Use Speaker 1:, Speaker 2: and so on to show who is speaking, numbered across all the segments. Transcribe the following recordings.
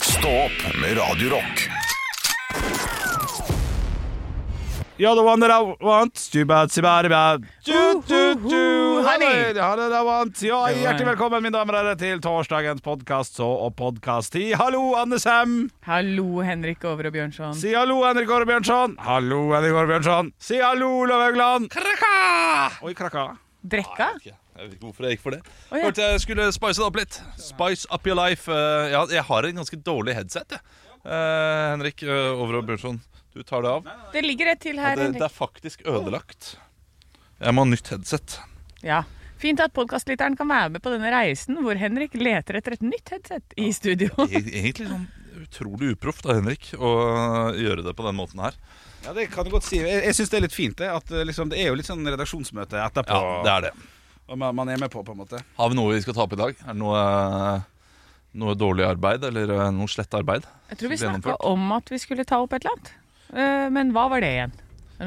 Speaker 1: Stå opp med Radio Rock.
Speaker 2: You're the one that I want Too bad, too bad, too bad Too, too, too Honey Ja, det er want Ja, hjertelig velkommen, mine damer og herrer Til torsdagens podcast Så og podcast 10 Hallo, Anne Sem
Speaker 3: Hallo, Henrik Over og Bjørnson.
Speaker 2: Si hallo, Henrik Åre Bjørnson Hallo, Henrik Åre Bjørnson Si hallo, Olav Haugland Krakka Oi, krakka
Speaker 3: Drekka?
Speaker 4: Ja, Jeg vet ikke hvorfor jeg gikk for det.
Speaker 3: ja.
Speaker 4: Hørte jeg skulle spice det opp litt. Spice up your life. Eh, ja, jeg har en ganske dårlig headset, jeg. Eh, Henrik eh, Over og Bjørnson, du tar det av.
Speaker 3: Det ligger et til
Speaker 4: Ja,
Speaker 3: her,
Speaker 4: det, det
Speaker 3: Henrik.
Speaker 4: er faktisk ødelagt. Jeg må ha nytt headset.
Speaker 3: Ja. Fint at podkastlytteren kan være med på denne reisen hvor Henrik leter etter et nytt headset i studio.
Speaker 4: E- Egentlig sånn utrolig uproft av Henrik å eh, gjøre det på den måten her.
Speaker 2: Ja, det kan du godt si Jeg, jeg synes det er litt fint det At eh, liksom, det er jo litt sånn redaksjonsmøte etterpå
Speaker 4: Ja, det er det.
Speaker 2: Og man, man er med på, på en måte
Speaker 4: Har vi noe vi skal ta opp i dag? Er det noe, eh, noe dårlig arbeid, eller eh, noe slett arbeid?
Speaker 3: Jeg tror vi
Speaker 4: Gjennomført.
Speaker 3: snakka om at vi skulle ta opp et eller annet. Eh, Men hva var det igjen? Er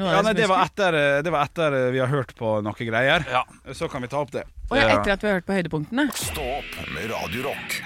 Speaker 2: Ja,
Speaker 3: noen av dere
Speaker 2: nei,
Speaker 3: som
Speaker 2: det var
Speaker 3: husker?
Speaker 2: etter, eh, det var etter eh, vi har hørt på noen greier
Speaker 4: Ja.
Speaker 2: Så kan vi ta opp det
Speaker 3: Å ja,
Speaker 4: Ja.
Speaker 3: etter at vi har hørt på høydepunktene.
Speaker 1: Stå opp med Radio Rock.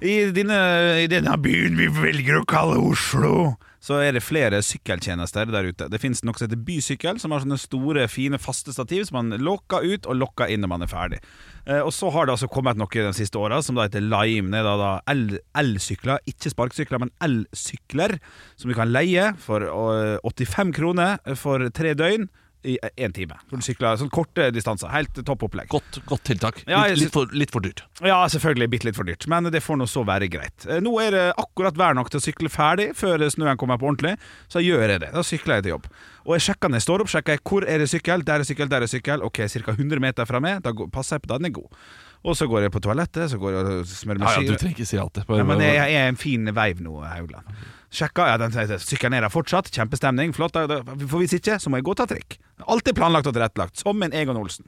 Speaker 2: I, dine, I denne byen vi velger å kalle Oslo så er det flere sykkeltjenester der ute. Det finnes noe som heter Bysykkel, som har sånne store, fine, faste stativ som man lokker ut og lokker inn når man er ferdig. Eh, og så har det altså kommet noe de siste åra som da heter Lime. Det er da, da el- elsykler, ikke sparkesykler, men elsykler, som du kan leie for eh, 85 kroner for tre døgn i én time. Så du sykler sånn korte distanser. Helt topp opplegg.
Speaker 4: Godt, godt tiltak.
Speaker 2: Ja, jeg
Speaker 4: litt, litt, for, litt for dyrt.
Speaker 2: Ja, selvfølgelig bitte litt for dyrt, men det får nå så være greit. Eh, Nå er det akkurat vær nok til å sykle ferdig før snøen kommer på ordentlig, så gjør jeg det. Da sykler jeg til jobb. Og jeg sjekker når jeg står opp, sjekker jeg hvor er det sykkel, der er sykkel, der er sykkel. Ok, ca. 100 meter fra meg, da går- passer jeg på, da den er god. Og så går jeg på toalettet, så går jeg og smører meg
Speaker 4: Ja, ja, du
Speaker 2: skiver.
Speaker 4: trenger ikke si alt det.
Speaker 2: Ja, men jeg, jeg er en fin veiv nå, Haugland. Sjekka, ja, den sykkelen er der fortsatt. Kjempestemning. Flott. da- da- For hvis ikke, så må jeg gå og ta trikk. Alltid planlagt og tilrettelagt, som en Egon Olsen.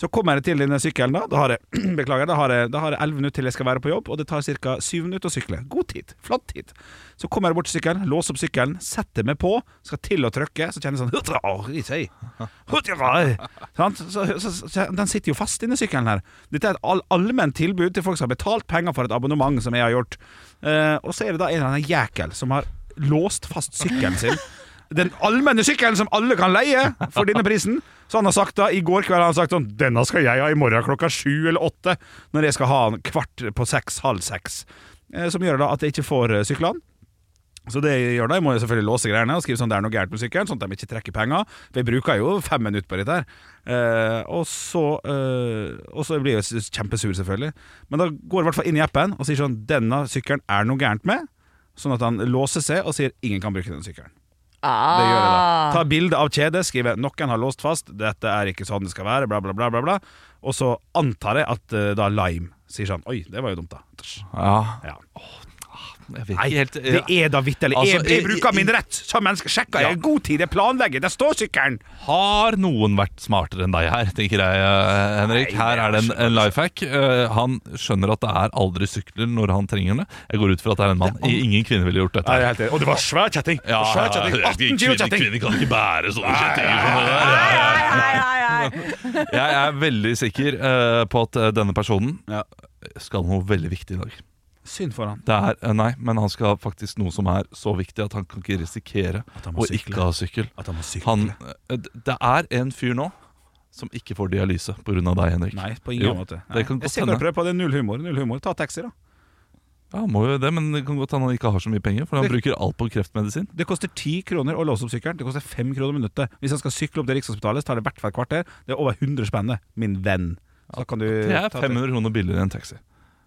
Speaker 2: Så kommer jeg til denne sykkelen, da. Da har jeg beklager, da har jeg, da har jeg 11 minutter til jeg skal være på jobb, og det tar ca. 7 minutter å sykle. God tid. Flott tid. Så kommer jeg bort til sykkelen, låser opp sykkelen, setter meg på, skal til å trykke, så kjenner jeg sånn «Hutra, åh, i seg. Hutra, åh». Sant? så, så, så, Den sitter jo fast inni sykkelen her. Dette er et all, allment tilbud til folk som har betalt penger for et abonnement, som jeg har gjort. Eh, og så er det da en eller annen jækel som har låst fast sykkelen sin. Den allmenne sykkelen som alle kan leie for denne prisen. Så han har sagt da, i går kveld har han sagt sånn Denne skal jeg ha i morgen klokka sju eller åtte. Når jeg skal ha den kvart på seks, halv seks. Eh, som gjør da at jeg ikke får eh, sykle den. Så det jeg gjør da, jeg må jo selvfølgelig låse greiene og skrive sånn det er noe gærent med sykkelen, sånn at de ikke trekker penger. For jeg bruker jo fem minutter på dette her. Eh, og så eh, Og så blir jeg jo s- kjempesur, selvfølgelig. Men da går jeg i hvert fall inn i appen og sier sånn Denne sykkelen er noe gærent med. Sånn at han låser seg og sier ingen kan bruke den sykkelen. Det gjør
Speaker 3: Ah,
Speaker 2: jeg da. Ta bilde av kjedet, skrive 'noen har låst fast', 'dette er ikke sånn det skal være', bla, bla, bla. bla, bla. Og så antar jeg at eh, da Lime sier sånn 'oi, det var jo dumt', da.
Speaker 4: Ja.
Speaker 2: Ja.
Speaker 4: Jeg vet
Speaker 2: Nei,
Speaker 4: ikke helt
Speaker 2: det er da vitterlig.
Speaker 4: Altså,
Speaker 2: jeg, jeg
Speaker 4: i-
Speaker 2: bruker
Speaker 4: i-
Speaker 2: min rett som menneske. Sjekker
Speaker 4: Ja.
Speaker 2: jeg i god tid, jeg planlegger, der står sykkelen!
Speaker 4: Har noen vært smartere enn deg her, tenker jeg, eh, Henrik.
Speaker 2: Nei,
Speaker 4: Her er det en, en life hack. Eh, Han skjønner at det er aldri sykler når han trenger det. Jeg går ut fra at det er en mann. I- Ingen kvinne ville gjort dette. her.
Speaker 2: Og det var svær kjetting!
Speaker 4: Ja,
Speaker 2: svær kjetting.
Speaker 4: ja,
Speaker 2: 18 kilo
Speaker 4: kvinner,
Speaker 2: kjetting!
Speaker 4: kvinner kan ikke bære sånne kjettinger som det der.
Speaker 3: Hei, hei, hei, hei.
Speaker 4: Jeg er veldig sikker eh, på at eh, denne personen
Speaker 2: Ja.
Speaker 4: skal noe veldig viktig i dag.
Speaker 2: Synd for han.
Speaker 4: Det er, eh, nei, men han skal faktisk noe som er så viktig at han kan ikke risikere
Speaker 2: han må
Speaker 4: å
Speaker 2: sykle.
Speaker 4: ikke ha sykkel.
Speaker 2: At han må sykle.
Speaker 4: Han, eh, det er en fyr nå som ikke får dialyse pga. deg, Henrik.
Speaker 2: Nei, på ingen
Speaker 4: Jo,
Speaker 2: måte. Nei.
Speaker 4: Det kan
Speaker 2: jeg
Speaker 4: godt
Speaker 2: ser bare
Speaker 4: hende.
Speaker 2: prøve på det. Null humor. Null humor. Ta taxi, da.
Speaker 4: Ja, han må jo det, men det kan godt hende han ikke har så mye penger, for han
Speaker 2: Det-
Speaker 4: bruker alt på kreftmedisin.
Speaker 2: Det koster ti kroner å låse opp sykkelen. Det koster fem kroner minuttet. Hvis han skal sykle opp til Rikshospitalet, så tar det i hvert fall et kvarter. Det er over 100 spennende, min venn. Så da kan du
Speaker 4: Det er
Speaker 2: ta-
Speaker 4: 500 kroner billigere enn taxi.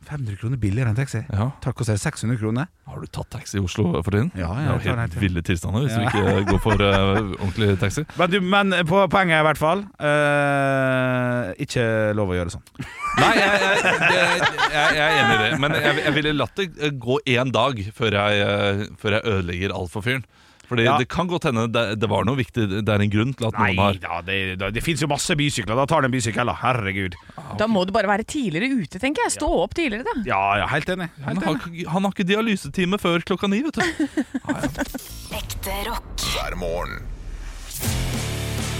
Speaker 2: 500 kroner billigere enn taxi.
Speaker 4: Ja.
Speaker 2: Tar koster 600 kroner.
Speaker 4: Har du tatt taxi i Oslo for tiden?
Speaker 2: Ja,
Speaker 4: Det
Speaker 2: ja,
Speaker 4: er
Speaker 2: jeg tar
Speaker 4: jo
Speaker 2: den
Speaker 4: helt
Speaker 2: hele tiden.
Speaker 4: ville tilstander hvis du ikke går for eh, ordentlig taxi.
Speaker 2: Men, du, men på poenget er i hvert fall eh, Ikke lov å gjøre sånn.
Speaker 4: Nei, jeg, jeg, jeg, jeg jeg er enig i det. Men jeg, jeg ville latt det eh, gå én dag før jeg, eh, før jeg ødelegger alt for fyren. Fordi
Speaker 2: Ja.
Speaker 4: det kan godt hende det, det var noe viktig. Det er en grunn til at noen har
Speaker 2: da, det, det, det fins jo masse bysykler. Da tar du en bysykkel, da. Herregud.
Speaker 3: Da må du bare være tidligere ute, tenker jeg. Stå opp tidligere, da.
Speaker 2: Ja, ja, helt enig.
Speaker 4: han har, ikke- han har ikke dialysetime før klokka ni, vet du.
Speaker 5: Ekte rock.
Speaker 1: hver morgen.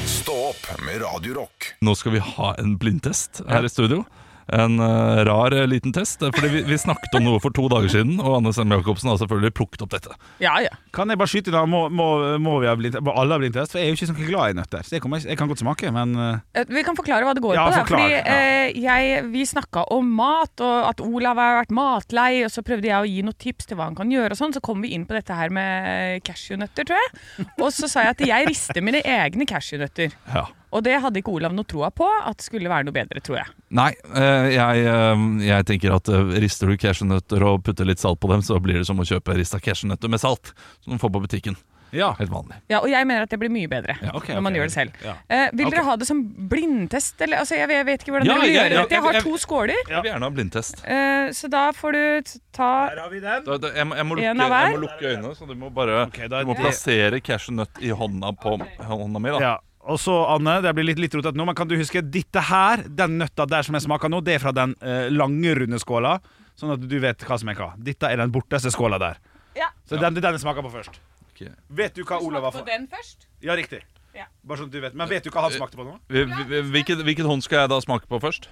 Speaker 1: Stå opp med Radio Rock.
Speaker 4: Nå skal vi ha en blindtest her i studio. En eh, rar eh, liten test. eh, Fordi vi, vi snakket om noe for to dager siden, og Anne Sem Jacobsen har selvfølgelig plukket opp dette.
Speaker 3: Ja, ja.
Speaker 2: Kan jeg bare skyte da? Må, må, må vi ha blindtest? Må alle ha blindtest? For jeg er jo ikke så glad i nøtter. Så jeg, kommer, ikke- jeg kan godt smake, men eh,
Speaker 3: Eh, Vi kan forklare hva det går
Speaker 2: Ja,
Speaker 3: på. Da.
Speaker 2: forklar,
Speaker 3: Fordi
Speaker 2: ja.
Speaker 3: eh, jeg, Vi snakka om mat, og at Olav har vært matlei. Og så prøvde jeg å gi noen tips til hva han kan gjøre. og sånn Så kom vi inn på dette her med cashewnøtter, tror jeg. Og så sa jeg at jeg rister mine egne cashewnøtter.
Speaker 4: Ja.
Speaker 3: Og det hadde ikke Olav noe troa på at skulle være noe bedre, tror jeg.
Speaker 4: Nei, eh, jeg, eh, jeg tenker at eh, rister du cashewnøtter og putter litt salt på dem, så blir det som å kjøpe rista cashewnøtter med salt, som du får på butikken.
Speaker 2: ja.
Speaker 4: Helt vanlig.
Speaker 3: Ja, Og jeg mener at det blir mye bedre
Speaker 4: Ja, ok,
Speaker 3: når man
Speaker 4: ok.
Speaker 3: gjør det selv.
Speaker 2: Ja.
Speaker 3: Eh, vil
Speaker 4: Ok.
Speaker 3: dere ha det som blindtest? Eller, altså, jeg, jeg vet ikke hvordan
Speaker 4: Ja,
Speaker 3: dere vil
Speaker 4: jeg-
Speaker 3: gjøre
Speaker 4: jeg-
Speaker 3: dette. Jeg har
Speaker 4: jeg-
Speaker 3: to skåler,
Speaker 4: Jeg vil gjerne ha blindtest.
Speaker 3: eh, så da får du t- ta
Speaker 2: har vi den.
Speaker 4: Da, da, jeg, må- jeg, må lukke,
Speaker 3: En av hver?
Speaker 4: jeg må lukke øynene, så du må bare
Speaker 2: Ok, da er
Speaker 4: du må
Speaker 2: det-
Speaker 4: plassere cashewnøtt i hånda på hånda mi. da
Speaker 2: Ja. Og så, Anne, det blir litt, litt rotet nå, men kan du huske dette her? Den nøtta der som jeg smaker nå, det er fra den eh, lange, runde skåla. Sånn at du vet hva som er hva. Dette er den borteste skåla der.
Speaker 3: Ja.
Speaker 2: Så den, det er den jeg smaker på først.
Speaker 4: Ok.
Speaker 2: Vet du hva Olav har
Speaker 3: på
Speaker 2: fått?
Speaker 3: den først.
Speaker 2: Ja, riktig.
Speaker 3: Ja.
Speaker 2: Bare sånn at du vet. Men vet du hva
Speaker 4: Eh,
Speaker 2: han smakte på nå?
Speaker 4: Hvil- hvil- Hvilket, hvilket hånd skal jeg da smake på først?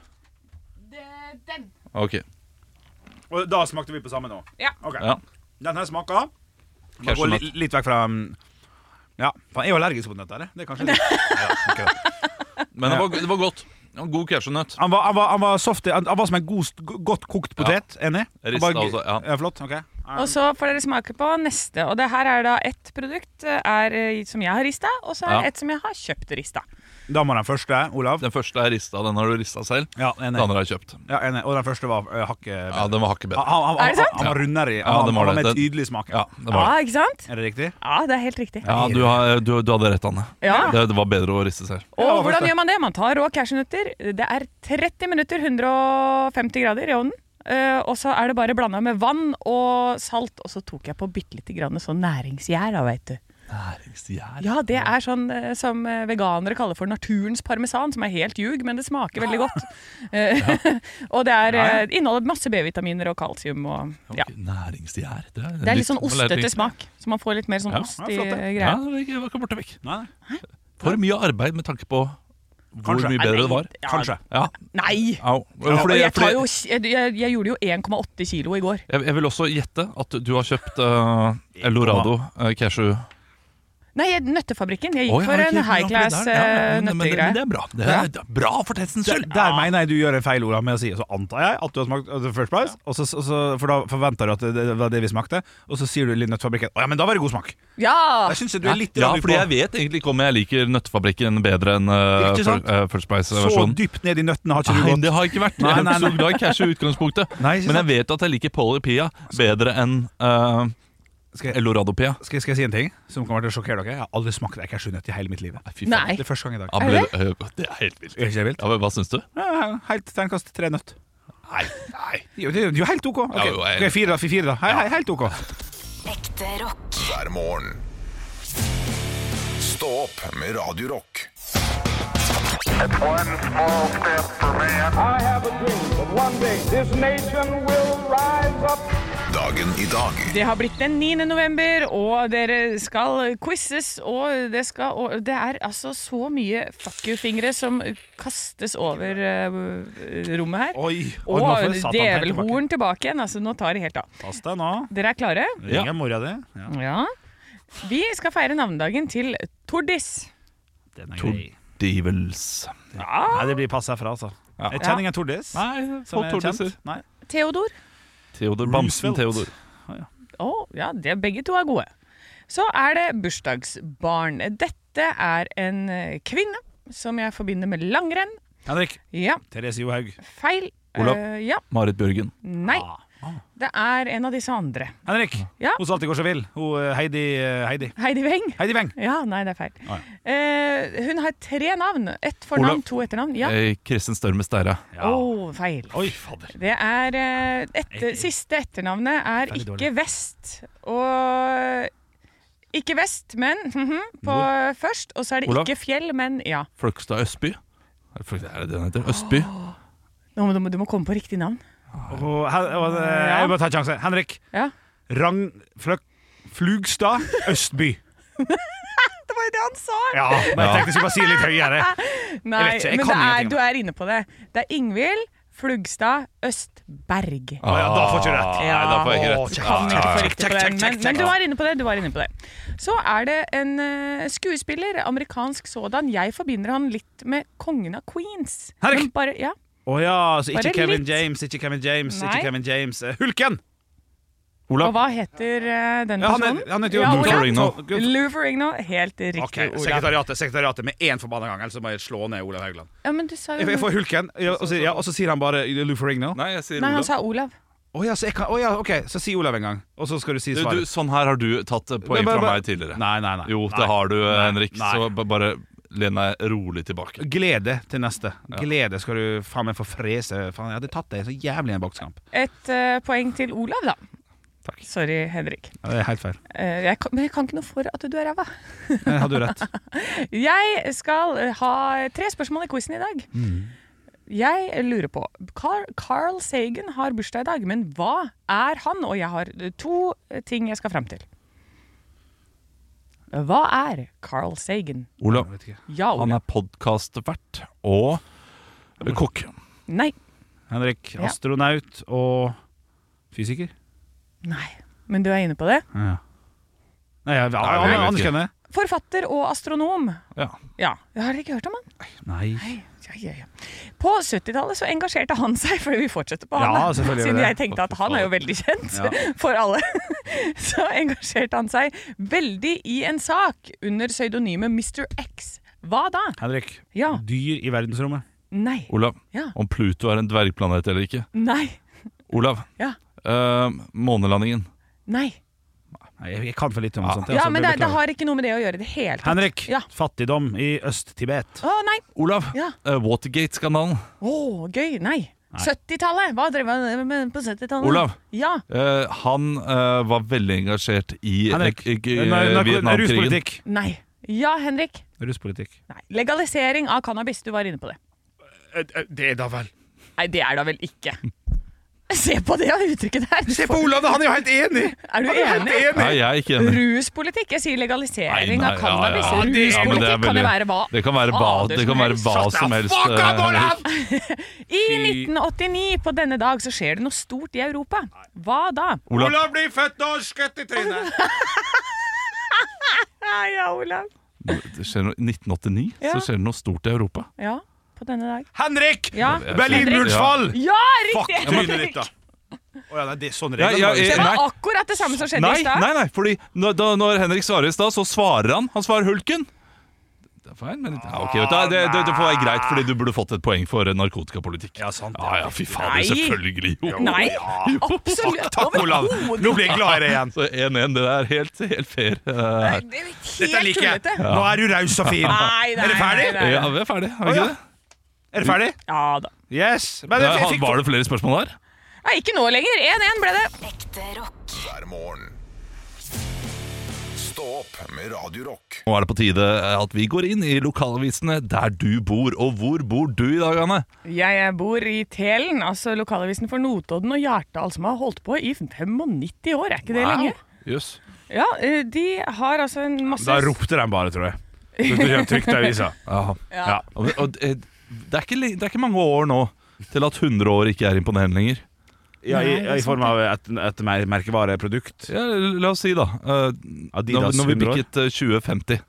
Speaker 3: Den.
Speaker 4: Ok,
Speaker 2: Og da smakte vi på samme nå.
Speaker 3: Ja.
Speaker 2: Ok.
Speaker 4: ja
Speaker 2: Den her smaker Bare gå
Speaker 4: Cashewnøtt.
Speaker 2: litt, litt vekk fra mm, Ja, faen, jeg er jo allergisk mot nøtter. jeg. Det er kanskje det. Neida, ok da.
Speaker 4: Men det var, det var godt. Det var en God cashewnøtt.
Speaker 2: Han var, han, var, han var soft Han, han var som en god, st- godt kokt potet. Enig? Han
Speaker 4: Ristet
Speaker 2: var-
Speaker 4: også, altså, ja.
Speaker 2: Flott. ok
Speaker 3: Og så får dere smake på neste. Og det her er da ett produkt eh, er, eh, som jeg har rista, og så er
Speaker 4: Ja.
Speaker 3: det ett som jeg har kjøpt rista.
Speaker 2: Da må den første, Olav.
Speaker 4: Den første er rista. Den har du rista selv.
Speaker 2: Ja,
Speaker 4: Den
Speaker 2: enig.
Speaker 4: andre har jeg kjøpt.
Speaker 2: Ja, enig. Og den første var uh, hakket bedre.
Speaker 4: Ja, Den var hakket
Speaker 2: han,
Speaker 4: bedre.
Speaker 2: han, han,
Speaker 3: Er det sant?
Speaker 2: han var rundere i.
Speaker 4: Ja,
Speaker 2: Han,
Speaker 4: det
Speaker 2: han var
Speaker 4: var det.
Speaker 2: med
Speaker 4: Den-
Speaker 2: tydelig smak.
Speaker 4: Ja, det
Speaker 3: Ja,
Speaker 4: var det.
Speaker 3: ikke sant?
Speaker 2: Er det riktig?
Speaker 3: Ja, det er helt riktig.
Speaker 4: Ja, du, har, du, du hadde rett, Anne.
Speaker 3: Ja.
Speaker 4: Det, det var bedre å riste selv.
Speaker 2: Ja, hva
Speaker 3: Og hvordan
Speaker 2: koster?
Speaker 3: gjør man det? Man tar rå cashewnøtter. Det er 30 minutter, 150 grader i ovnen. Eh, og så er det bare blanda med vann og salt. Og så tok jeg på bitte lite grann sånn næringsgjær, da, veit du.
Speaker 4: Næringsgjær.
Speaker 3: Ja, det er sånn eh, som eh, veganere kaller for naturens parmesan, som er helt ljug, men det smaker veldig godt. Eh, og det er, eh, inneholder masse B-vitaminer og kalsium og ja.
Speaker 4: Næringsgjær. Det er,
Speaker 3: Det er litt sånn ostete smak, så man får litt mer sånn
Speaker 4: Ja,
Speaker 3: ost
Speaker 2: ja,
Speaker 3: i
Speaker 2: flott, det.
Speaker 3: eh, greia.
Speaker 4: Ja, det var ikke- det var ikke borte vekk.
Speaker 2: Nei, nei.
Speaker 4: For mye arbeid med tanke på hvor
Speaker 2: Kanskje.
Speaker 4: mye bedre det var.
Speaker 3: Ja,
Speaker 2: Kanskje.
Speaker 4: Ja,
Speaker 3: Nei!
Speaker 4: au.
Speaker 3: Og
Speaker 4: Fordi,
Speaker 3: jeg, tar jo,
Speaker 4: fordi,
Speaker 3: jeg, jeg, jeg gjorde jo 1,8 kilo i går.
Speaker 4: jeg, jeg vil også gjette at du har kjøpt eh, Eldorado eh, cashew.
Speaker 3: Nei, jeg, Nøttefabrikken. Jeg
Speaker 4: Oi,
Speaker 3: gikk
Speaker 4: har
Speaker 3: for
Speaker 4: du
Speaker 3: en
Speaker 4: ikke-
Speaker 3: high class
Speaker 4: Ja,
Speaker 3: eh,
Speaker 4: men- men- Men
Speaker 3: nøttegreie.
Speaker 4: det er bra. Det er, det er bra for testens
Speaker 2: Der,
Speaker 4: skyld.
Speaker 2: der mener jeg du gjør en feil, Olav, med å si Så antar jeg at du har smakt uh, First Price, og så, så, så- for da forventer du at det, det var det vi smakte, og så sier du litt Nøttfabrikken Å ja, men da var det god smak.
Speaker 3: Ja!
Speaker 2: Jeg syns du er litt
Speaker 4: Ah, ja,
Speaker 2: radd
Speaker 4: fordi jeg
Speaker 2: på
Speaker 4: vet egentlig ikke om jeg liker Nøttefabrikken bedre enn eh,
Speaker 2: Ikke sant?
Speaker 4: Fir- eh, First
Speaker 2: Så
Speaker 4: Price-versjonen.
Speaker 2: dypt ned i nøttene har ikke du
Speaker 4: Nei,
Speaker 2: gått.
Speaker 4: Ah, det har jeg ikke vært.
Speaker 2: Nei,
Speaker 4: Jeg er
Speaker 2: nei,
Speaker 4: ikke så
Speaker 2: nei.
Speaker 4: glad i cashew i utgangspunktet.
Speaker 2: Nei, ikke
Speaker 4: Men jeg
Speaker 2: sant?
Speaker 4: vet at jeg liker Polly Pia bedre enn eh,
Speaker 2: Skal jeg,
Speaker 4: Eldorado Pia.
Speaker 2: skal, jeg, skal jeg si en ting som kommer til å sjokkere dere? Jeg har aldri smakt ei cashewnøtt i hele mitt liv.
Speaker 4: Fy
Speaker 3: Nei.
Speaker 2: Det er første gang i dag.
Speaker 4: Ja,
Speaker 3: Er
Speaker 4: ble, eh, det er helt vilt.
Speaker 2: Er ikke det vilt?
Speaker 4: Ja, men Hva syns du?
Speaker 2: Ja, Helt terningkast tre nøtt.
Speaker 4: Nei, nei.
Speaker 2: Jo, det er jo helt OK. Ok,
Speaker 4: Ja, jo, jeg-
Speaker 2: Ok, fire, da. Fire, da. Hei, hei, helt OK.
Speaker 5: Ekte rock.
Speaker 1: hver morgen. Stå opp med Radio Rock.
Speaker 6: One small step for man. I have a dream that one day this nation will rise up.
Speaker 1: Dagen i dag
Speaker 3: Det har blitt den 9. november, og dere skal quizzes, og det, skal, og det er altså så mye fuck you-fingre som kastes over eh, rommet her.
Speaker 2: Oi.
Speaker 3: Og,
Speaker 2: nå får satan helt
Speaker 3: djevelhorn tilbake igjen. Altså, nå tar det helt av.
Speaker 2: tilbake. Pass deg nå.
Speaker 3: Dere er klare?
Speaker 4: Ja.
Speaker 2: Ringer mora di. Ja,
Speaker 3: Ja. Vi skal feire navnedagen til Tordis.
Speaker 2: den er
Speaker 4: Tor-
Speaker 2: grei.
Speaker 4: Divels.
Speaker 2: Nei, det blir pass herfra, altså.
Speaker 4: Ja.
Speaker 2: Jeg kjenner ingen Tordis.
Speaker 4: Nei,
Speaker 2: som
Speaker 4: folk
Speaker 2: er kjent.
Speaker 4: tordiser.
Speaker 2: Nei.
Speaker 3: Theodor.
Speaker 4: Theodor Bamsen
Speaker 2: Roosevelt.
Speaker 4: Theodor.
Speaker 3: Å, ja, det, begge to er gode. Så er det bursdagsbarn. Dette er en eh, kvinne som jeg forbinder med langrenn.
Speaker 2: Henrik.
Speaker 3: Ja,
Speaker 2: Therese Johaug.
Speaker 3: feil.
Speaker 4: Olav.
Speaker 3: Eh, ja.
Speaker 4: Marit Bjørgen.
Speaker 3: Nei.
Speaker 2: Ah,
Speaker 3: Det er en av disse andre.
Speaker 2: Henrik,
Speaker 3: Ja?
Speaker 2: hun som alltid går så vill. Hun eh, Heidi eh, Heidi.
Speaker 3: Heidi Weng.
Speaker 2: Heidi Weng.
Speaker 3: Ja, nei, det er feil.
Speaker 2: Ah,
Speaker 3: Eh, hun har tre navn. Ett fornavn,
Speaker 4: Olav.
Speaker 3: to etternavn. Ja.
Speaker 4: Eh, Kristin Størme Steira.
Speaker 3: Å, feil.
Speaker 2: Oi, fader.
Speaker 3: Det er eh, etter, Siste etternavnet er
Speaker 2: Veldig
Speaker 3: ikke
Speaker 2: dårlig.
Speaker 3: Vest. Og Ikke Vest, men mhm, på først. Og så er det
Speaker 4: Olav.
Speaker 3: ikke Fjell, men ja.
Speaker 4: Fløgstad Østby. Er det Fløgstad- er det det den heter? Østby.
Speaker 3: Nå må, du, må- du må komme på riktig navn.
Speaker 2: Og Hen- og, eh, Jeg må ta en sjanse. Henrik.
Speaker 3: Ja.
Speaker 2: Rang Fløk... Flugstad Østby.
Speaker 3: Det var jo det han sa!
Speaker 2: Ja, men jeg tenkte jeg skulle bare si det litt høyere.
Speaker 3: Nei,
Speaker 2: vet ikke, jeg kan
Speaker 3: men det er,
Speaker 2: ingenting.
Speaker 3: du er inne på det. Det er Ingvild Flugstad Østberg.
Speaker 2: Å ja, da får du ikke rett.
Speaker 4: Nei, da får jeg ikke
Speaker 2: Å,
Speaker 4: rett.
Speaker 2: kjekt,
Speaker 4: Ah,
Speaker 3: Kan ikke få
Speaker 2: kjekt,
Speaker 3: riktig
Speaker 2: kjekt,
Speaker 3: på den,
Speaker 2: kjekt,
Speaker 3: men,
Speaker 2: kjekt,
Speaker 3: men du
Speaker 2: kjekt.
Speaker 3: var inne på det. du var inne på det Så er det en eh, skuespiller, amerikansk sådan. Jeg forbinder han litt med kongen av Queens.
Speaker 2: Henrik!
Speaker 3: Men Bare, ja.
Speaker 2: Å ja, så ikke
Speaker 3: Bare
Speaker 2: Kevin
Speaker 3: litt.
Speaker 2: James, ikke Kevin James,
Speaker 3: Nei.
Speaker 2: ikke Kevin James. Eh, Hulken!
Speaker 3: Og hva heter eh, den
Speaker 2: Ja, han er-
Speaker 3: personen?
Speaker 2: han heter jo
Speaker 3: ja,
Speaker 2: Lou
Speaker 3: Olav.
Speaker 4: Ferrigno.
Speaker 3: Lou Ferrigno. Helt riktig,
Speaker 2: Ok,
Speaker 3: Olav.
Speaker 2: Sekretariatet sekretariatet med én forbanna gang, ellers så må jeg slå ned Olav Haugland.
Speaker 3: Ja, men du sa
Speaker 2: Jeg, jeg
Speaker 3: jo
Speaker 2: får Hulken, ja, og, så, ja, og så sier han bare Lou Ferrigno.
Speaker 4: Nei, jeg sier
Speaker 3: Nei, han
Speaker 4: Olav.
Speaker 3: sa Olav.
Speaker 2: Å ja, så jeg kan, å ja, ok, så si Olav en gang, og så skal du si
Speaker 4: Du, du,
Speaker 2: svaret.
Speaker 4: sånn her har du tatt poeng
Speaker 2: Men bare-
Speaker 4: fra
Speaker 2: bare-
Speaker 4: meg tidligere.
Speaker 2: Nei, nei, nei.
Speaker 4: Jo,
Speaker 2: Nei.
Speaker 4: det har du, eh, Henrik.
Speaker 2: Nei.
Speaker 4: Så ba- bare len deg rolig tilbake.
Speaker 2: Glede til neste. Glede skal du faen meg få frese. Faen, jeg hadde tatt deg så jævlig i en boksekamp.
Speaker 3: Et eh, poeng til Olav, da. Sorry, Henrik.
Speaker 2: Ja, det er helt feil.
Speaker 3: Eh, jeg kan, men jeg kan ikke noe for at du er ræva.
Speaker 2: Jeg hadde jo rett.
Speaker 3: Jeg skal eh, ha tre spørsmål i quizen i dag.
Speaker 4: Mm.
Speaker 3: Jeg lurer på Carl, Carl Sagen har bursdag i dag, men hva er han? Og jeg har eh, to eh, ting jeg skal fram til. Hva er Carl Sagen?
Speaker 4: Olav,
Speaker 3: Ja,
Speaker 4: han
Speaker 3: Olav.
Speaker 4: er podkastvert og kokk.
Speaker 3: Nei.
Speaker 2: Henrik,
Speaker 3: Ja.
Speaker 2: astronaut og fysiker?
Speaker 3: Nei. Men du er inne på det.
Speaker 2: Ja. Nei, jeg, jeg,
Speaker 4: jeg vet ikke.
Speaker 2: anerkjenner.
Speaker 3: Forfatter og astronom.
Speaker 4: Ja.
Speaker 3: Ja, Har dere ikke hørt om han?
Speaker 2: Nei.
Speaker 3: Ja, ja, ja. På 70-tallet så engasjerte han seg, fordi vi fortsetter på han.
Speaker 2: Ja,
Speaker 3: da.
Speaker 2: selvfølgelig gjør
Speaker 3: Siden
Speaker 2: det.
Speaker 3: jeg tenkte at han er jo veldig kjent for alle. Så engasjerte han seg veldig i en sak under pseudonymet Mr. X. Hva da?
Speaker 2: Henrik,
Speaker 3: Ja.
Speaker 2: dyr i verdensrommet.
Speaker 3: Nei.
Speaker 4: Olav,
Speaker 3: Ja.
Speaker 4: om Pluto er en dvergplanet eller ikke.
Speaker 3: Nei.
Speaker 4: Olav,
Speaker 3: Ja.
Speaker 4: eh, månelandingen.
Speaker 3: Nei.
Speaker 2: Nei, jeg, jeg kan for lite om sånt. jeg,
Speaker 3: Ja,
Speaker 2: altså,
Speaker 3: men
Speaker 2: blir
Speaker 3: det, det
Speaker 2: beklaget.
Speaker 3: har ikke noe med det å gjøre i det hele tatt.
Speaker 2: Henrik,
Speaker 3: Ja.
Speaker 2: fattigdom i Øst-Tibet.
Speaker 3: Å, nei.
Speaker 4: Olav,
Speaker 3: Ja.
Speaker 4: eh, Watergate-skandalen.
Speaker 3: Å, gøy. Nei. 70-tallet! Hva drev han med på 70-tallet?
Speaker 4: Olav.
Speaker 3: Ja.
Speaker 4: Eh, han eh, var veldig engasjert i eh,
Speaker 2: Henrik,
Speaker 4: k- k-
Speaker 2: nei,
Speaker 4: eh,
Speaker 2: narko-
Speaker 4: Vietnamkrigen.
Speaker 2: ruspolitikk.
Speaker 3: Nei. Ja, Henrik.
Speaker 2: Ruspolitikk.
Speaker 3: Nei. Legalisering av cannabis. Du var inne på det. Eh,
Speaker 2: Det er da vel.
Speaker 3: Nei, det er da vel ikke. Se på det uttrykket der!
Speaker 2: Se på Olav, da! Han er jo helt enig!
Speaker 3: Er du enig?
Speaker 4: Nei, jeg er ikke enig.
Speaker 3: Ruspolitikk? Jeg sier legalisering
Speaker 4: Nei, nei,
Speaker 3: av cannabis.
Speaker 4: ja, ja, ja. Ja, men
Speaker 3: Ruspolitikk
Speaker 4: det er
Speaker 3: kan jo
Speaker 4: veldig-
Speaker 3: være hva?
Speaker 4: Det kan være hva,
Speaker 3: fader
Speaker 4: det kan være hva
Speaker 2: Shut the
Speaker 4: som helst.
Speaker 2: fuck up,
Speaker 4: eh,
Speaker 2: Olav!
Speaker 4: Henrik.
Speaker 3: I 1989 på denne dag så skjer det noe stort i Europa. Hva da?
Speaker 4: Olav.
Speaker 2: Olav blir født og skutt i trynet!
Speaker 3: ja, Olav.
Speaker 4: Det skjer noe, 1989
Speaker 3: Ja.
Speaker 4: så skjer det noe stort i Europa.
Speaker 3: Ja, på denne dag.
Speaker 2: Henrik!
Speaker 3: Ja,
Speaker 2: Berlinmurens
Speaker 4: Ja.
Speaker 2: fall!
Speaker 3: ja
Speaker 2: Fuck
Speaker 3: riktig!
Speaker 2: trynet ditt, da! Å ja, nei, det er sånn
Speaker 4: Ja,
Speaker 2: regler.
Speaker 4: ja,
Speaker 2: bare.
Speaker 4: eh,
Speaker 3: Det var
Speaker 4: Nei.
Speaker 3: akkurat det samme som skjedde
Speaker 4: Nei,
Speaker 3: i stad.
Speaker 4: nei, nei, fordi når, da, når Henrik svarer i stad, så svarer han. Han svarer Hulken. Det er feil, men ja, ok, vet du, hva, det, det, det får være greit, fordi du burde fått et poeng for eh, narkotikapolitikk.
Speaker 2: Ja, sant,
Speaker 4: ja,
Speaker 2: ja.
Speaker 4: ja, fy fader,
Speaker 3: Nei.
Speaker 4: selvfølgelig. Jo.
Speaker 3: Nei,
Speaker 2: Fuck,
Speaker 3: absolutt.
Speaker 2: takk, Olav! Nå blir jeg glad i deg igjen.
Speaker 4: Så 1-1, det er helt, helt fair. eh, her.
Speaker 3: Det er
Speaker 2: Dette
Speaker 3: Helt
Speaker 2: liker jeg.
Speaker 3: tullete.
Speaker 2: Nå er du raus og fin.
Speaker 3: Nei, nei,
Speaker 2: Er det ferdig?
Speaker 3: nei,
Speaker 4: Ja,
Speaker 3: nei.
Speaker 4: vi er ferdig, er
Speaker 2: Å,
Speaker 4: vi
Speaker 2: ja.
Speaker 4: ikke det?
Speaker 2: Er du ferdig?
Speaker 3: Ja da.
Speaker 2: Yes. Men
Speaker 4: Ja,
Speaker 2: jeg, jeg
Speaker 4: han-
Speaker 2: fikk
Speaker 4: Var det flere spørsmål der?
Speaker 3: Nei, ikke nå lenger. 1-1 ble det.
Speaker 5: Ekte rock.
Speaker 1: hver morgen. Stå opp med Radio Rock.
Speaker 4: Nå er det på tide eh, at vi går inn i lokalavisene der du bor. Og hvor bor du i dag, Anne?
Speaker 3: Jeg bor i Telen, altså lokalavisen for Notodden og Hjartdal, som har holdt på i 95 år. Er ikke det lenge?
Speaker 4: Jøss.
Speaker 3: Ja, eh, De har altså en masse
Speaker 2: Da ropte de bare, tror jeg. Du kommer trygt i avisa.
Speaker 3: Ja.
Speaker 4: Og, og, eh, det, er ikke, li- det er ikke mange år nå til at 100 år ikke er imponerende lenger.
Speaker 2: Ja, i, I form av et, et mer- merkevareprodukt.
Speaker 4: Ja, la oss si, da. eh,
Speaker 2: Adidas
Speaker 4: når, når vi
Speaker 2: 100 år.
Speaker 4: bikket eh, 2050.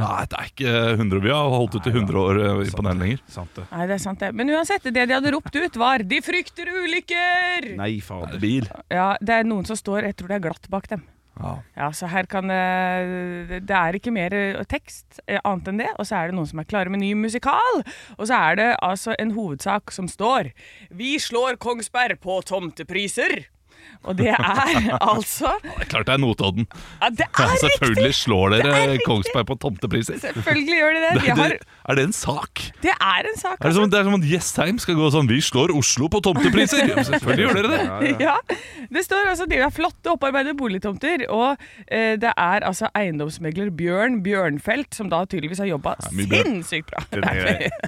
Speaker 4: Da er det er ikke eh, 100 Vi har holdt ut i 100 år eh,
Speaker 2: Sånn.
Speaker 4: imponerende lenger.
Speaker 2: Sant det.
Speaker 3: Nei, det er sant, det. Men uansett, det de hadde ropt ut, var 'De frykter ulykker'!
Speaker 2: Nei, fader.
Speaker 4: Bil.
Speaker 3: Ja, Det er noen som står Jeg tror det er glatt bak dem. Ja, så her kan eh, det Det er ikke mer eh, tekst eh, annet enn det. Og så er det noen som er klare med ny musikal. Og så er det altså en hovedsak som står Vi slår Kongsberg på tomtepriser. Og det er altså
Speaker 4: Det er klart det er Notodden.
Speaker 3: ja, Det er riktig!
Speaker 4: Selvfølgelig slår
Speaker 3: Det er
Speaker 4: dere
Speaker 3: riktig!
Speaker 4: Kongsberg på tomtepriser.
Speaker 3: Selvfølgelig gjør de det. De
Speaker 4: Det-
Speaker 3: har,
Speaker 4: det- Er det en sak?
Speaker 3: det er en sak.
Speaker 4: Er det, sånn som, det er som at Jessheim skal gå sånn Vi slår Oslo på tomtepriser! Ja, Selvfølgelig gjør dere det!
Speaker 3: Ja, Det står altså de har flotte opparbeidede boligtomter, og eh, det er altså eiendomsmegler Bjørn Bjørnfelt, som da tydeligvis har jobba
Speaker 4: mye bra.
Speaker 3: sinnssykt bra,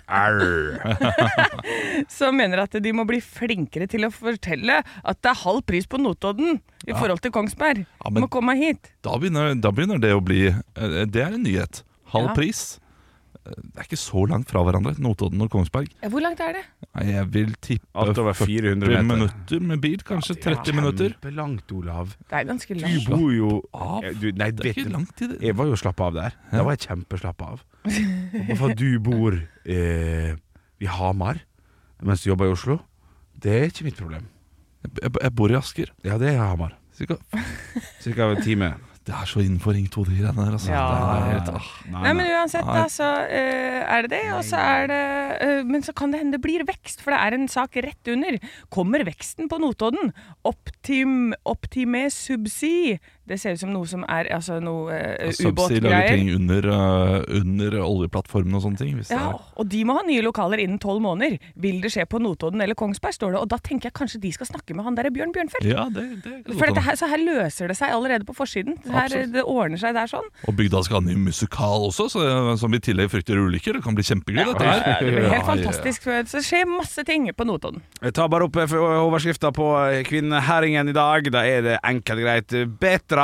Speaker 2: Arr.
Speaker 3: som mener at de må bli flinkere til å fortelle at det er halv pris på Notodden i forhold til Kongsberg.
Speaker 4: Ja,
Speaker 3: Du
Speaker 4: men-
Speaker 3: må komme hit.
Speaker 4: Da begynner, da begynner det å bli eh, Det er en nyhet. Halv
Speaker 3: Ja.
Speaker 4: pris. Eh, Det er ikke så langt fra hverandre, Notodden og Kongsberg.
Speaker 3: Hvor langt er det?
Speaker 4: Nei, Jeg vil tippe
Speaker 2: Alt over 400 meter.
Speaker 4: minutter med bil, kanskje 30 minutter.
Speaker 2: Kjempelangt, Olav.
Speaker 3: Det er ganske
Speaker 2: Du
Speaker 3: langt.
Speaker 2: bor jo
Speaker 4: av.
Speaker 2: Ja, du, Nei,
Speaker 4: Det er
Speaker 2: vet
Speaker 4: ikke
Speaker 2: du
Speaker 4: langt i det.
Speaker 2: Jeg var jo slapp av der. Da var jeg kjempeslapp av. Og Hvorfor du bor eh, i Hamar mens du jobber i Oslo, det er ikke mitt problem.
Speaker 4: Jeg, jeg bor i Asker.
Speaker 2: Ja, det er Hamar.
Speaker 4: Cirka.
Speaker 2: Cirka en time.
Speaker 4: Det er så innenfor Ring 2, de greiene der. Altså.
Speaker 3: Ja.
Speaker 4: Det er helt, ah.
Speaker 3: Nei, men uansett, da, så eh, er det det. Og så er det eh, Men så kan det hende det blir vekst, for det er en sak rett under. Kommer veksten på Notodden? Optim, optime subsi. Det ser ut som noe som er altså noe eh,
Speaker 4: Subsea lager
Speaker 3: ubåtgreier.
Speaker 4: ting under, eh, under oljeplattformen og sånne ting. Hvis det
Speaker 3: Ja,
Speaker 4: er.
Speaker 3: og de må ha nye lokaler innen tolv måneder. Vil det skje på Notodden eller Kongsberg, står det. Og da tenker jeg kanskje de skal snakke med han der Bjørn Bjørnfeldt.
Speaker 4: Ja, det, det er
Speaker 3: For
Speaker 4: godt
Speaker 3: dette
Speaker 4: an.
Speaker 3: her, så her løser det seg allerede på forsiden. Det Her,
Speaker 4: Absolutt.
Speaker 3: det ordner seg der sånn.
Speaker 4: Og bygda skal ha ny musikal også, så, eh, som i tillegg frykter ulykker. Det kan bli kjempegøy, dette her.
Speaker 3: Det blir helt
Speaker 4: Ja, ja.
Speaker 3: fantastisk. Så det skjer masse ting på Notodden.
Speaker 2: Jeg tar bare opp eh, overskrifta på eh, Kvinnherringen i dag. Da er det enkelt og greit. Bedre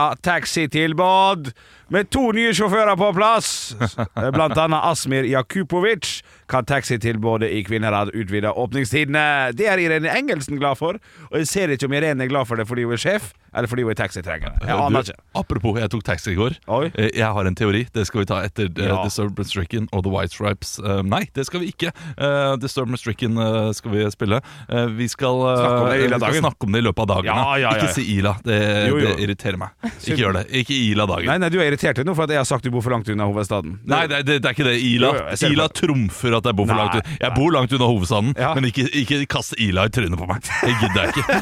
Speaker 2: taxitilbud med to nye sjåfører på plass. Eh, Blant annet Asmir Jakupovic kan taxitilbudet i Kvinnherad utvide åpningstidene. Det er Irene Engelsen glad for, og jeg ser ikke om Irene er glad for det fordi hun er sjef, eller fordi hun er taxitrengende. Jeg
Speaker 4: Du,
Speaker 2: aner ikke.
Speaker 4: apropos, jeg tok taxi i går.
Speaker 2: Oi.
Speaker 4: Eh, Jeg har en teori. Det skal vi ta etter eh,
Speaker 2: Ja.
Speaker 4: Disturbed Stricken og The White Stripes. Eh, nei, det skal vi ikke. Uh, Disturbed Stricken eh, skal vi spille. Eh, vi skal, eh,
Speaker 2: Snakke om det i
Speaker 4: vi
Speaker 2: løpet av
Speaker 4: skal
Speaker 2: dagen.
Speaker 4: snakke om det i løpet av dagen.
Speaker 2: Ja, ja, ja, ja.
Speaker 4: Ikke si Ila. Det,
Speaker 2: Jo, jo.
Speaker 4: det irriterer meg. Ikke gjør det. Ikke Ila dagen.
Speaker 2: Nei, nei, du er irritert nå for at jeg har sagt du bor for langt unna hovedstaden.
Speaker 4: Nei, det, det, det er ikke det. Ila,
Speaker 2: Jo, jo, jeg ser
Speaker 4: Ila
Speaker 2: det.
Speaker 4: trumfer at jeg bor for
Speaker 2: Nei,
Speaker 4: langt unna. Jeg
Speaker 2: nei.
Speaker 4: bor langt unna hovedstaden,
Speaker 2: Ja.
Speaker 4: men ikke, ikke kast Ila i trynet på meg. Det gidder jeg ikke.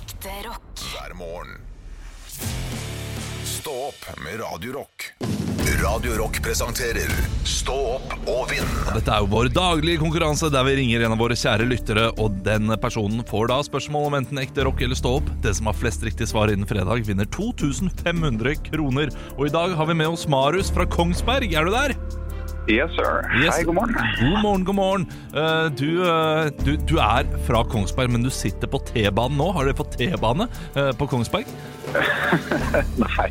Speaker 5: Ekte rock.
Speaker 1: hver morgen. Stå opp med Radio Rock. Radio Rock presenterer Stå opp og vinn.
Speaker 4: Dette er jo vår daglige konkurranse der vi ringer en av våre kjære lyttere, og den personen får da spørsmål om enten ekte rock eller stå opp. Den som har flest riktige svar innen fredag, vinner 2500 kroner. Og i dag har vi med oss Marius fra Kongsberg. Er du der?
Speaker 7: Yes, sir.
Speaker 4: Yes.
Speaker 7: Hei, god morgen.
Speaker 4: God morgen, god morgen. Eh, du, eh, du, du er fra Kongsberg, men du sitter på T-banen nå. Har dere fått T-bane eh, på Kongsberg?
Speaker 7: Nei,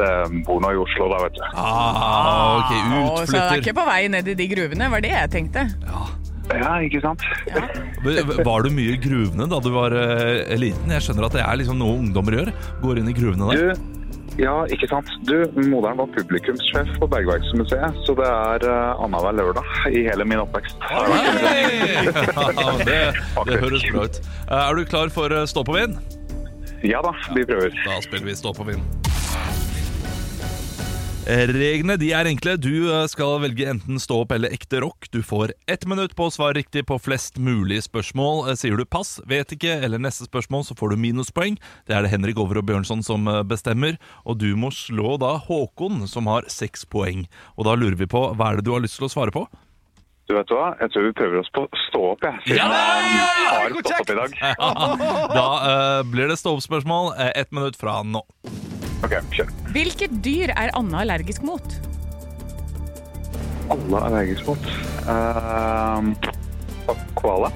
Speaker 7: det bor nå i Oslo da, vet du.
Speaker 4: Ah,
Speaker 3: Å,
Speaker 4: ok,
Speaker 3: Så det er
Speaker 4: utflytter.
Speaker 3: ikke på vei ned i de gruvene, var det jeg tenkte.
Speaker 7: Ja, ikke sant?
Speaker 4: eh, V- Var du mye i gruvene da du var eh, liten? Jeg skjønner at det er liksom noe ungdommer gjør. Går inn i gruvene der.
Speaker 7: Du, ja, ikke sant? Du, moderen var publikumssjef på Bergverksmuseet, så det er uh, annenhver lørdag i hele min oppvekst.
Speaker 4: Hei! Ja, det, det
Speaker 7: Faktisk.
Speaker 4: høres bra ut. Er du klar for eh, stå på vind?
Speaker 7: Ja da, vi prøver.
Speaker 4: Da spiller vi stå på vind. Eh, Reglene de er enkle. Du eh, skal velge enten stå opp eller ekte rock. Du får ett minutt på å svare riktig på flest mulig spørsmål. Eh, Sier du pass, vet ikke eller neste spørsmål, så får du minuspoeng. Det er det Henrik Over og Bjørnson som eh, bestemmer. Og du må slå da Håkon, som har seks poeng. Og da lurer vi på hva er det du har lyst til å svare på?
Speaker 7: Du vet hva, jeg tror vi prøver oss på stå opp, jeg. siden vi har stått opp i dag.
Speaker 4: Da eh, blir det stå-opp-spørsmål. eh, ett minutt fra nå.
Speaker 7: Ok, kjør.
Speaker 3: Hvilket dyr er Anna allergisk mot?
Speaker 7: Alle er allergisk mot. Uh, koala.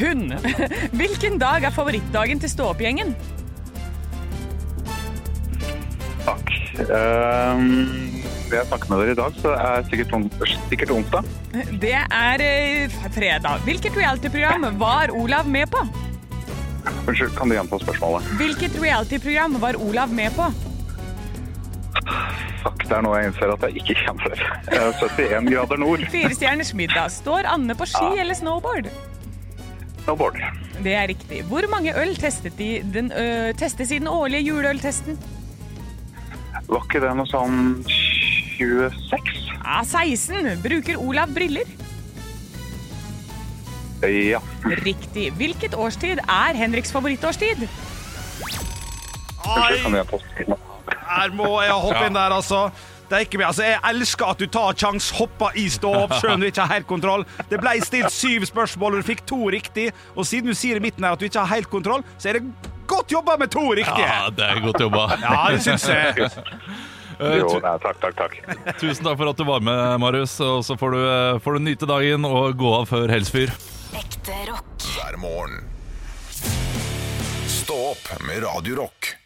Speaker 3: Hund. Hvilken dag er favorittdagen til stå-opp-gjengen?
Speaker 7: Takk. Ehm, jeg snakket med dere i dag, så det er sikkert, on sikkert onsdag.
Speaker 3: Det er eh, fredag. Hvilket reality-program var Olav med på?
Speaker 7: Unnskyld, kan du gjenta spørsmålet?
Speaker 3: Hvilket reality-program var Olav med på?
Speaker 7: Fuck, det er noe jeg innser at jeg ikke gjennomfører. Eh, 71 grader nord.
Speaker 3: Firestjerners middag. Står Anne på ski eller snowboard?
Speaker 7: Snowboard.
Speaker 3: Det er riktig. Hvor mange øl testet de den, ø, testes i den årlige juleøltesten?
Speaker 7: Var ikke det noe sånn 26?
Speaker 3: Ja, 16. Ah, Bruker Olav briller?
Speaker 7: Ja.
Speaker 3: Riktig. Hvilket årstid er Henriks favorittårstid?
Speaker 7: Kanskje kan jeg poste
Speaker 2: Her må jeg hoppe inn der, altså. Det er ikke mye. Altså, jeg elsker at du tar sjans, hopper i stå opp, selv om du ikke har helt kontroll. Det ble stilt syv spørsmål, og du fikk to riktig. Og siden du sier i midten her at du ikke har helt kontroll, så er det godt jobba med to riktige.
Speaker 4: Ja, det er godt jobba.
Speaker 2: Ja, det syns jeg.
Speaker 4: Eh,
Speaker 7: Jo,
Speaker 4: tu-
Speaker 7: nei, takk, takk, takk.
Speaker 4: Tusen takk for at du var med, Marius. Og så får du, eh, får du nyte dagen og gå av før helsfyr.
Speaker 5: Ekte rock.
Speaker 1: hver morgen. Stå opp med Radio Rock.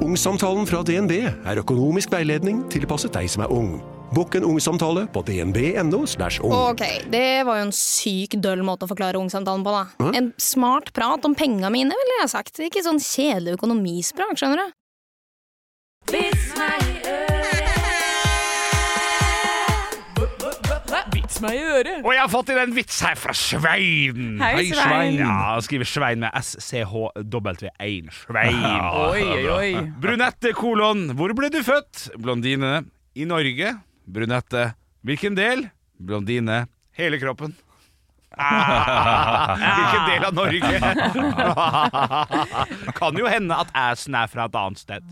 Speaker 8: Ungsamtalen fra DNB er økonomisk veiledning tilpasset deg som er ung. Bokk en ungsamtale på dnb.no. slash ung.
Speaker 9: Ok, det var jo en syk døll måte å forklare ungsamtalen på, da. En smart prat om penga mine, ville jeg ha sagt. Ikke sånn kjedelig økonomispråk, skjønner du.
Speaker 3: Vits meg i øret.
Speaker 2: Og jeg har fått inn en vits her fra Svein.
Speaker 3: Hei, Hei, Svein. Svein.
Speaker 2: Ja, han skriver Svein med SCHW1. Svein.
Speaker 3: Oi, oi, oi.
Speaker 2: Brunette kolon, hvor ble du født? Blondine. I Norge. Brunette. Hvilken del? Blondine. Hele kroppen. Ah, hvilken del av Norge? kan jo hende at assen er fra et annet sted.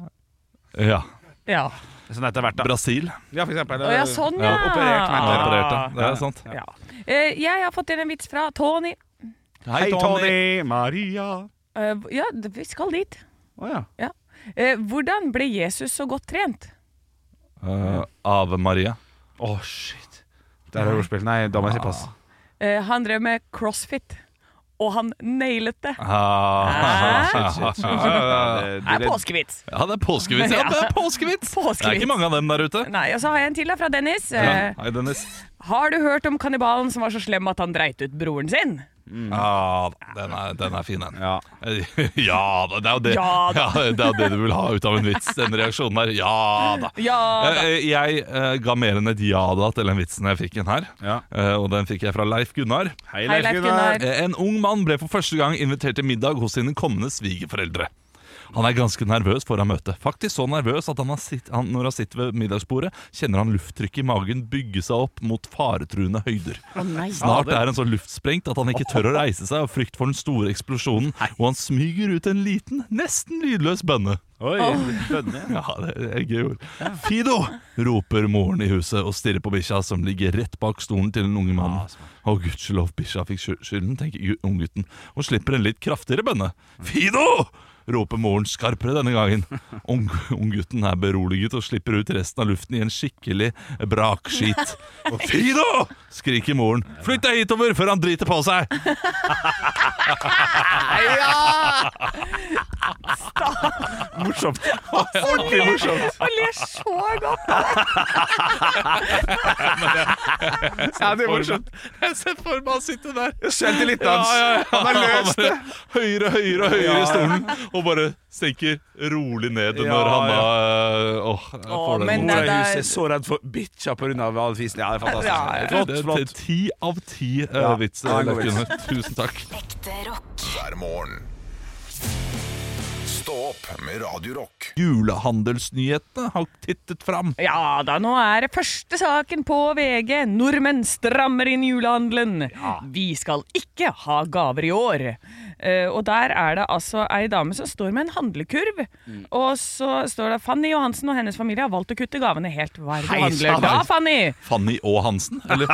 Speaker 4: Ja.
Speaker 3: Ja.
Speaker 2: Sånn etter hvert, da.
Speaker 4: Brasil.
Speaker 2: Ja, for eksempel.
Speaker 3: Å ja, sånn, ja.
Speaker 2: operert meg.
Speaker 4: Han
Speaker 2: Ah.
Speaker 4: opererte. Det er sant.
Speaker 3: ja. Eh, Jeg har fått inn en vits fra Tony.
Speaker 2: Hei, Tony. Maria.
Speaker 3: Eh, Ja, vi skal dit.
Speaker 2: Å ja.
Speaker 3: Ja. Eh, Hvordan ble Jesus så godt trent?
Speaker 4: Eh, Ave Maria.
Speaker 2: Å, shit. Der er ordspill. Nei, da må jeg si pass.
Speaker 3: Eh, Han drev med crossfit, og han nailet det.
Speaker 4: Ah.
Speaker 3: Det er påskevits.
Speaker 4: Ja, det er påskevits. Ja, det er påskevits.
Speaker 3: Påskevits.
Speaker 4: Det er ikke mange av dem der ute.
Speaker 3: Nei, og så har jeg en til da, fra Dennis.
Speaker 4: Ja.
Speaker 3: Eh,
Speaker 4: Hei, Dennis.
Speaker 3: Har du hørt om kannibalen som var så slem at han dreit ut broren sin?
Speaker 4: Ja, den er, den er fin, den.
Speaker 2: Mm. Ja.
Speaker 4: Ja da, det er jo det,
Speaker 3: Ja da.
Speaker 4: Ja, det, er jo det du vil ha ut av en vits, den reaksjonen der. Ja da.
Speaker 3: Ja da.
Speaker 4: Eh, eh, Jeg eh, ga mer enn et ja da til den vitsen jeg fikk en her.
Speaker 2: Ja.
Speaker 4: Eh, Og den fikk jeg fra Leif Gunnar.
Speaker 3: Hei, Leif Gunnar.
Speaker 4: Eh, En ung mann ble for første gang invitert til middag hos sine kommende svigerforeldre. Han er ganske nervøs foran møtet. Faktisk så nervøs at han har sitt, han, når han sitter ved middagsbordet, kjenner han lufttrykket i magen bygge seg opp mot faretruende høyder. Snart er han så luftsprengt at han ikke tør å reise seg av frykt for den store eksplosjonen, og han smyger ut en liten, nesten lydløs bønne.
Speaker 2: Oi, bønne.
Speaker 4: Ja, det er gøy ord. Fido! roper moren i huset og stirrer på bikkja, som ligger rett bak stolen til den unge mannen. Å, gudskjelov, bikkja fikk sky- skylden, tenker gu- unggutten, og slipper en litt kraftigere bønne. Fido! roper moren skarpere denne gangen. Ung- Unggutten er beroliget og slipper ut resten av luften i en skikkelig brakskit. Fido! skriker moren. Flytt deg hitover før han driter på seg!
Speaker 2: Morsomt. Ordentlig morsomt.
Speaker 3: Jeg ler så godt!
Speaker 2: Ja, det er morsomt.
Speaker 4: Jeg ser for meg han sitter der.
Speaker 2: Selvtilliten hans. Han har løst det.
Speaker 4: Høyere, høyere, høyere i stolen, og bare senker rolig ned
Speaker 2: Ja,
Speaker 4: når han da øh, Åh, jeg
Speaker 3: Åh,
Speaker 4: får
Speaker 3: men
Speaker 4: den
Speaker 3: det
Speaker 4: mot
Speaker 3: er-
Speaker 4: meg.
Speaker 3: der-
Speaker 2: Huset er så redd for bitcha på grunn av all fisen. Ja, det er
Speaker 3: Ja,
Speaker 2: fantastisk.
Speaker 3: ja.
Speaker 2: Flott,
Speaker 4: Det er
Speaker 2: flott.
Speaker 4: Ti av ti øh,
Speaker 2: Ja,
Speaker 4: vitser.
Speaker 2: ja, en god
Speaker 4: Leif
Speaker 2: vits.
Speaker 4: Gunnar. Tusen takk.
Speaker 5: Ekte rock.
Speaker 1: hver morgen. Stå opp med Radio Rock.
Speaker 4: Julehandelsnyhetene har tittet fram.
Speaker 3: Ja da, nå er det første saken på VG. Nordmenn strammer inn julehandelen. Vi skal ikke ha gaver i år. Eh, og der er det altså ei dame som står med en handlekurv.
Speaker 2: Mm.
Speaker 3: Og så står det Fanny Johansen og hennes familie har valgt å kutte gavene helt. Hva er det du
Speaker 2: Hei,
Speaker 3: handler
Speaker 2: sann.
Speaker 3: da, Fanny?
Speaker 4: Fanny og Hansen? Eller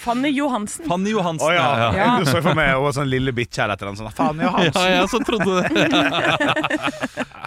Speaker 3: Fanny Johansen.
Speaker 4: Fanny Johansen.
Speaker 2: Å ja.
Speaker 4: ja.
Speaker 3: Ja.
Speaker 2: Du så for meg og sånn lille bitch her etter han sånn Faen, ja, han.
Speaker 4: Ja, jeg som trodde det.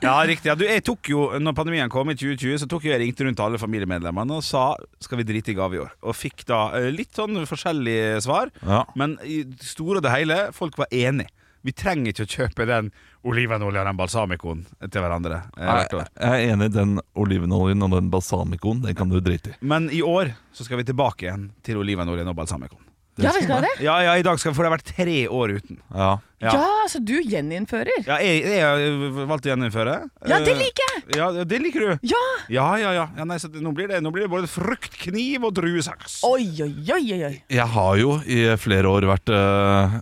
Speaker 2: Ja, riktig. Ja, du, jeg tok jo, når pandemien kom i 2020, så tok jeg, jeg ringte rundt til alle familiemedlemmene og sa skal vi drite i gave i år. Og fikk da eh, litt sånn forskjellige svar,
Speaker 4: Ja.
Speaker 2: men i det store og det hele, folk var enige. Vi trenger ikke å kjøpe den olivenolja og den balsamicoen til hverandre eh, hvert år.
Speaker 4: Jeg er enig i den olivenoljen og den balsamicoen. Den kan du drite i.
Speaker 2: Men i år så skal vi tilbake igjen til olivenoljen og balsamicoen.
Speaker 3: Ja, vi skal det.
Speaker 2: Ja, ja, i dag skal vi, for det har vært tre år uten.
Speaker 4: Ja.
Speaker 2: Ja.
Speaker 3: Ja, så du gjeninnfører.
Speaker 2: Ja, jeg, jeg valgte å gjeninnføre.
Speaker 3: Ja, det
Speaker 2: Eh,
Speaker 3: liker jeg!
Speaker 2: Ja, det liker du.
Speaker 3: Ja!
Speaker 2: Ja, ja, ja. ja nei, så det, nå, blir det, nå blir det både fruktkniv og druesaks.
Speaker 3: Oi, oi, oi, oi, oi.
Speaker 4: Jeg har jo i flere år vært, øh,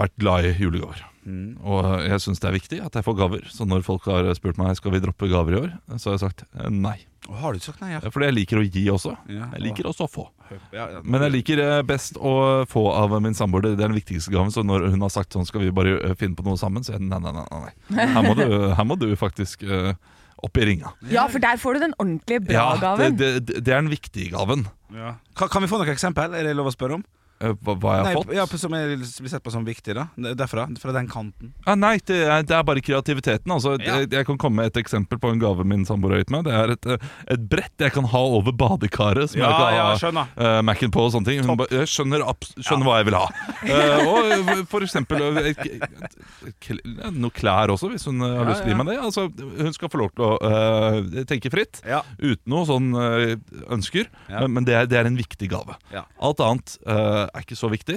Speaker 4: vært eh, glad i julegaver.
Speaker 2: Mm.
Speaker 4: Og jeg syns det er viktig at jeg får gaver. Så når folk har spurt meg skal vi droppe gaver i år, så har jeg sagt eh, nei.
Speaker 2: Har du sagt nei, ja?
Speaker 4: Fordi jeg liker å gi også.
Speaker 2: Ja.
Speaker 4: Jeg liker også å få.
Speaker 2: Ja, ja.
Speaker 4: Men jeg liker eh, best å få av min samboer. Det er den viktigste gaven. Så når hun har sagt sånn skal vi bare eh, finne på noe sammen, så er det nei, nei, nei. nei. Her, må du, her må du faktisk eh, opp i ringa.
Speaker 3: Ja, for der får du den ordentlige
Speaker 4: Ja, det,
Speaker 3: bra-gaven.
Speaker 4: det, det er den viktige gaven.
Speaker 2: Ja. Kan, kan vi få noen eksempel? Er det lov å spørre om?
Speaker 4: Eh, Hva, hva jeg har
Speaker 2: Nei,
Speaker 4: fått?
Speaker 2: Ja, som er, blir sett på som viktig, da. Derfra. Fra den kanten.
Speaker 4: Ah, nei, det er, det er bare kreativiteten. Altså, jeg, jeg kan komme med et eksempel på en gave min samboer har gitt meg. Det er et, eh, et brett jeg kan ha over badekaret, som
Speaker 2: Ja,
Speaker 4: jeg kan
Speaker 2: ja,
Speaker 4: ha
Speaker 2: skjønner.
Speaker 4: eh, Mac-en på og sånne ting. Hun ba, jeg skjønner, abs- skjønner hva jeg vil ha. Eh, og eh, for eksempel eh, et- et- et kl- noe klær også, hvis hun eh, har
Speaker 2: Ja,
Speaker 4: lyst til å gi
Speaker 2: ja.
Speaker 4: meg det. Altså, hun skal få lov til å eh, tenke fritt,
Speaker 2: Ja.
Speaker 4: uten noe sånn eh, ønsker.
Speaker 2: Ja.
Speaker 4: Men, men det, er, det er en viktig gave.
Speaker 2: Ja.
Speaker 4: Alt annet eh, er ikke så viktig.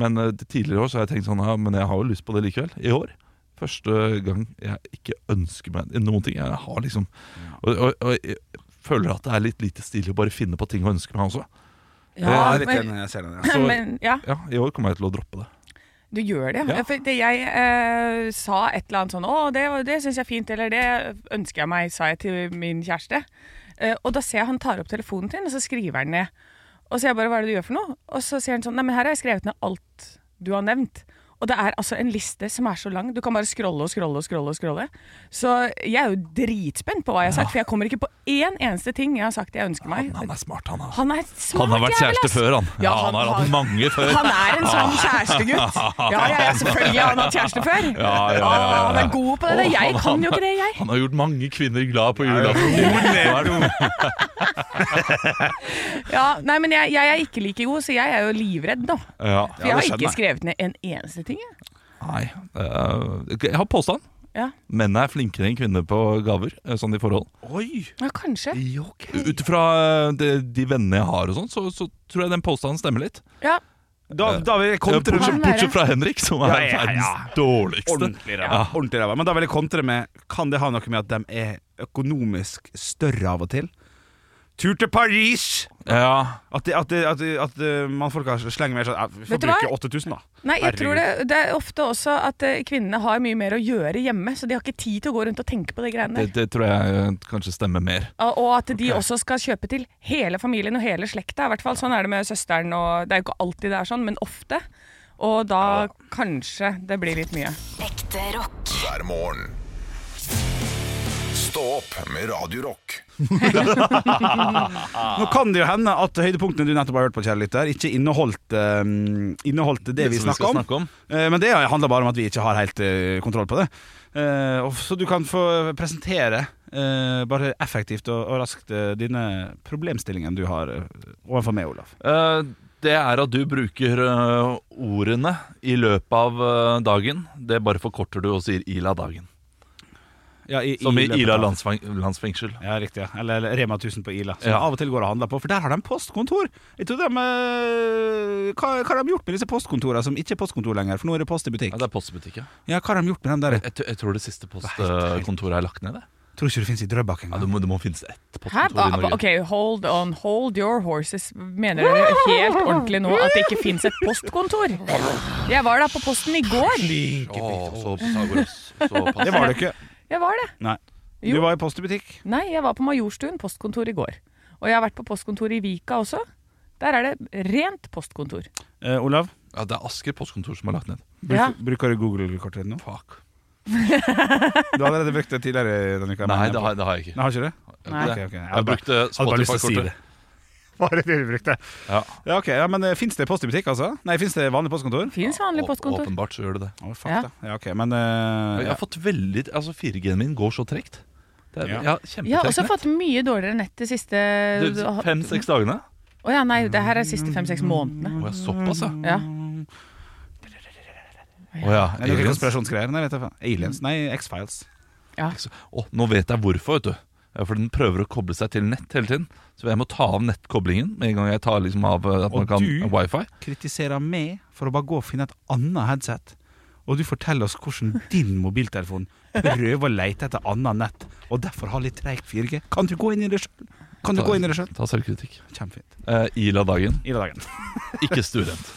Speaker 4: Men eh, tidligere år så har jeg tenkt sånn ja, Men jeg har jo lyst på det likevel. I år. Første gang jeg ikke ønsker meg noen ting. Jeg har liksom Og, og, og jeg føler at det er litt lite stilig å bare finne på ting å ønske meg også.
Speaker 3: Ja,
Speaker 2: jeg er litt
Speaker 3: men-
Speaker 2: enig, jeg ser den. Ja.
Speaker 4: Så,
Speaker 3: Men ja,
Speaker 4: ja, I år kommer jeg til å droppe det.
Speaker 3: du gjør det.
Speaker 4: Ja.
Speaker 3: For det jeg eh, sa et eller annet sånn Å, det, var- det syns jeg er fint, eller det ønsker jeg meg, sa jeg til min kjæreste. Eh, og da ser jeg han tar opp telefonen sin, og så skriver han ned. Og så jeg bare, hva er det du gjør for noe? Og så sier han sånn, nei, men her har jeg skrevet ned alt du har nevnt. Og det er altså en liste som er så lang. Du kan bare scrolle og scrolle og scrolle. og scrolle. Så jeg er jo dritspent på hva jeg har sagt, for jeg kommer ikke på én eneste ting jeg har sagt jeg ønsker meg.
Speaker 4: Men han er smart, han. Han,
Speaker 3: Han er smart,
Speaker 4: han har vært
Speaker 3: jævel,
Speaker 4: kjæreste
Speaker 3: ass.
Speaker 4: før, han. Ja,
Speaker 3: Ja,
Speaker 4: han, har
Speaker 3: han-
Speaker 4: hatt mange før.
Speaker 3: Han er en sånn kjærestegutt. Ja, ja, ja selvfølgelig har han hatt kjæreste før.
Speaker 4: Ja, ja, ja, ja.
Speaker 3: Å, Han er god på det. der.
Speaker 4: Å, han-
Speaker 3: Jeg kan
Speaker 4: han-
Speaker 3: jo ikke det, jeg.
Speaker 4: Han har gjort mange kvinner glad på julaften.
Speaker 3: Ja, nei, men jeg, jeg er ikke like god, så jeg er jo livredd nå.
Speaker 4: Ja.
Speaker 3: For jeg har
Speaker 2: skjønner
Speaker 3: ikke skrevet ned en eneste ting. jeg.
Speaker 4: Nei. eh, jeg har påstand.
Speaker 3: Ja,
Speaker 4: Menn er flinkere enn kvinner på gaver, eh, sånn i forhold.
Speaker 2: Oi!
Speaker 3: ja kanskje.
Speaker 4: Ut ifra eh, de, de vennene jeg har, og sånn, så, så tror jeg den påstanden stemmer litt. Eh,
Speaker 3: Ja,
Speaker 2: Da, da vil jeg kontre
Speaker 4: bortsett,
Speaker 2: med
Speaker 3: Han er det.
Speaker 4: bortsett fra Henrik, som er
Speaker 2: Ja, ja, ja.
Speaker 4: verdens dårligste.
Speaker 2: Ordentlig ræva. Ordentlig ræva. Men da vil jeg kontre med Kan det ha noe med at de er økonomisk større av og til? Tur til Paris!
Speaker 4: Ja,
Speaker 2: At, det- at, det- at, det- at eh, mannfolka slenger mer sånn "Ja, Vi
Speaker 3: Vet
Speaker 2: får
Speaker 3: du hva?
Speaker 2: bruke 8000, da.
Speaker 3: Nei, jeg tror det,
Speaker 2: Herregud.
Speaker 3: det er ofte også at eh, kvinnene har mye mer å gjøre hjemme, så de har ikke tid til å gå rundt og tenke på de greiene
Speaker 4: det,
Speaker 3: der.
Speaker 4: det tror jeg eh, kanskje stemmer mer.
Speaker 3: Og og at de også skal kjøpe til hele familien og hele slekta. I hvert fall sånn er det med søsteren og Det er jo ikke alltid det er sånn, men ofte. Og da kanskje det blir litt mye.
Speaker 5: Ekte rock.
Speaker 1: hver morgen. Stå opp med Radio Rock.
Speaker 2: Nå kan det jo hende at høydepunktene du nettopp har hørt på, kjære lytter, ikke inneholdt, eh, inneholdt det, vi
Speaker 4: som vi
Speaker 2: snakker
Speaker 4: skal
Speaker 2: om.
Speaker 4: snakke om.
Speaker 2: Eh, men det handler bare om at vi ikke har helt eh, kontroll på det. Eh, og så du kan få presentere eh, bare effektivt og, og raskt eh, dine problemstillingen du har eh, overfor meg, Olaf.
Speaker 4: Eh, Det er at du bruker eh, ordene i løpet av eh, dagen. Det bare forkorter du og sier 'Ila dagen'.
Speaker 2: Ja,
Speaker 4: Som i
Speaker 2: løpet
Speaker 4: Ila
Speaker 2: av-
Speaker 4: landsfeng landsfengsel.
Speaker 2: Ja, riktig. ja. Eller, eller Rema 1000 på Ila, som
Speaker 4: Ja.
Speaker 2: jeg av og til går og handler på. For der har de postkontor! Jeg tror de, eh, hva, hva har de gjort med disse postkontorene som ikke er postkontor lenger? For nå er det post i butikk.
Speaker 4: Ja, det er postbutikk, ja.
Speaker 2: Ja, hva har de gjort med den der?
Speaker 4: Jeg, tr- jeg tror det siste
Speaker 2: helt- helt-
Speaker 4: postkontoret er lagt ned. Det.
Speaker 2: Tror ikke det finnes i Drøbak
Speaker 4: Ja,
Speaker 2: engang.
Speaker 4: det, må, det må finnes ett
Speaker 3: Hæ?
Speaker 4: postkontor i
Speaker 3: Hva-
Speaker 4: Norge.
Speaker 3: Ok, hold on. Hold your horses. Mener dere helt ordentlig nå at det ikke fins et postkontor? Jeg var da på posten i går.
Speaker 4: Å, så Pythagoras. Så pass.
Speaker 2: Det var det ikke.
Speaker 3: Jeg var det.
Speaker 2: Nei.
Speaker 3: Jo.
Speaker 2: Du var i post i butikk.
Speaker 3: Nei, jeg var på Majorstuen postkontor i går. Og jeg har vært på postkontor i Vika også. Der er det rent postkontor.
Speaker 2: Eh, Olav,
Speaker 4: Ja, det er Asker postkontor som er lagt ned.
Speaker 2: bruk,
Speaker 3: Ja.
Speaker 2: bruker du Google-kortet ditt nå?
Speaker 4: Fuck.
Speaker 2: Du har allerede brukt det tidligere denne uka.
Speaker 4: Nei,
Speaker 2: mener jeg
Speaker 4: det
Speaker 2: på.
Speaker 4: har, det har jeg ikke.
Speaker 2: Nei, har ikke det?
Speaker 3: Nei.
Speaker 4: Det-
Speaker 2: Ok, ok.
Speaker 4: Jeg brukte
Speaker 2: hadde bare lyst til å si
Speaker 4: Spotify-kortet.
Speaker 2: Bare det du brukte.
Speaker 4: Ja.
Speaker 2: Ja, ok. Ja, men fins det post i butikk, altså? Nei, fins det vanlig postkontor?
Speaker 3: Fins vanlig
Speaker 4: Å-
Speaker 3: postkontor.
Speaker 4: Åpenbart så gjør det det.
Speaker 2: Å, fuck
Speaker 3: Ja.
Speaker 2: da. ja, ok, men eh,
Speaker 4: Jeg har fått veldig Altså 4G-en min går så tregt. Det er,
Speaker 2: Ja.
Speaker 3: Jeg
Speaker 4: Jeg har
Speaker 3: har også
Speaker 4: kjempetregt nett.
Speaker 3: fått mye dårligere nett de siste
Speaker 4: Fem-seks dagene?
Speaker 3: Å ja, nei, det her er de siste fem-seks månedene.
Speaker 4: Å ja, såpass, ja.
Speaker 3: Ja.
Speaker 2: Det
Speaker 4: Å ja.
Speaker 2: er noen
Speaker 4: aliens.
Speaker 2: konspirasjonsgreier. Nei, vet jeg faen. Aliens? Nei, X-Files.
Speaker 4: Altså, Å, nå vet jeg hvorfor, vet du. Ja, For den prøver å koble seg til nett hele tiden. Så jeg må ta av nettkoblingen med en gang jeg tar liksom av eh, at
Speaker 2: Og
Speaker 4: man kan
Speaker 2: du-
Speaker 4: wifi.
Speaker 2: Kritiserer meg for å bare gå og finne et annet headset, og du forteller oss hvordan din mobiltelefon prøver å lete etter annet nett, og derfor har litt treigt 4G. Kan du gå inn i det sjøl? Kan du gå inn i det sjøl?
Speaker 4: Ta selvkritikk.
Speaker 2: Kjempefint.
Speaker 4: Eh, Ila dagen,
Speaker 2: I dagen.
Speaker 4: ikke stuerent.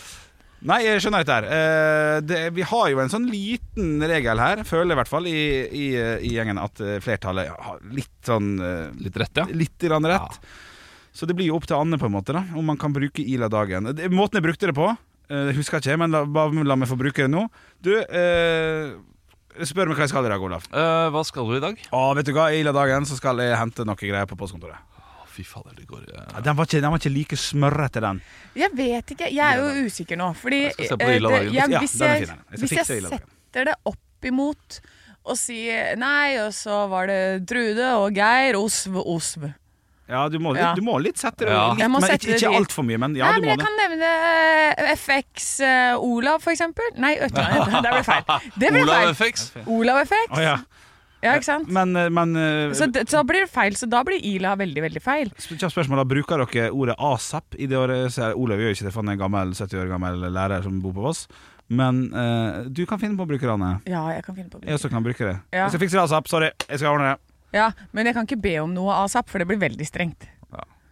Speaker 2: Nei, jeg skjønner dette her. Eh, det, vi har jo en sånn liten regel her, føler jeg i hvert fall, i, i, i gjengen, at eh, flertallet har litt sånn
Speaker 4: Litt rett, ja.
Speaker 2: Litt grann rett. Så det blir jo opp til Anne, på en måte, da om man kan bruke Ila-dagen. Det- Måten jeg brukte det på, eh, jeg husker ikke, men la, bare la meg få bruke det nå. Du, eh, spør meg hva jeg skal i dag, Olaf.
Speaker 4: Eh, hva skal du i dag?
Speaker 2: Å, vet du hva, I Ila-dagen så skal jeg hente noe greier på postkontoret.
Speaker 4: Å, fy fader, det går eh.
Speaker 2: Den var ikke, den var ikke like smørrete, den.
Speaker 3: Jeg vet ikke. Jeg er jo usikker nå. Fordi
Speaker 2: skal se på
Speaker 3: eh,
Speaker 2: Ila
Speaker 3: det-
Speaker 2: Dagen.
Speaker 3: jeg-
Speaker 2: Ja,
Speaker 3: hvis
Speaker 2: den er
Speaker 3: jeg,
Speaker 2: fin, den. Jeg skal
Speaker 3: hvis jeg
Speaker 2: fikse Ila Dagen.
Speaker 3: setter det opp imot og sier nei, og så var det Trude og Geir, Osv, Osv.
Speaker 2: Ja, du må, litt-
Speaker 3: Ja.
Speaker 2: Du må litt sette det
Speaker 3: Ja.
Speaker 2: litt,
Speaker 3: Jeg må
Speaker 2: men
Speaker 3: sette
Speaker 2: Ikke,
Speaker 3: det
Speaker 2: ikke
Speaker 3: dit.
Speaker 2: altfor mye, men ja,
Speaker 3: nei,
Speaker 2: du
Speaker 3: men
Speaker 2: må
Speaker 3: jeg
Speaker 2: det.
Speaker 3: kan nevne eh, FX eh, Olav, for eksempel. Nei, vet du hva, det ble feil. Det ble
Speaker 4: Olav
Speaker 3: feil.
Speaker 4: FX.
Speaker 3: Olav FX.
Speaker 2: Å, ja.
Speaker 3: Ja, ikke sant?
Speaker 2: Men, men eh,
Speaker 3: Så, det, så da blir det feil, så da blir Ila veldig, veldig feil.
Speaker 2: kjapt spørsmål da Bruker dere ordet ASAP i det året? Så er- Olav gjør jo ikke det, for han er en gammel, 70 år gammel lærer som bor på Voss. Men eh, du kan finne på å bruke det, Anne.
Speaker 3: Ja, jeg kan finne på å
Speaker 2: Jeg
Speaker 3: bruke
Speaker 2: også kan bruke det.
Speaker 3: Ja.
Speaker 2: Jeg skal fikse det ASAP, sorry. Jeg skal ordne det.
Speaker 3: Ja, Men jeg kan ikke be om noe ASAP, for det blir veldig strengt.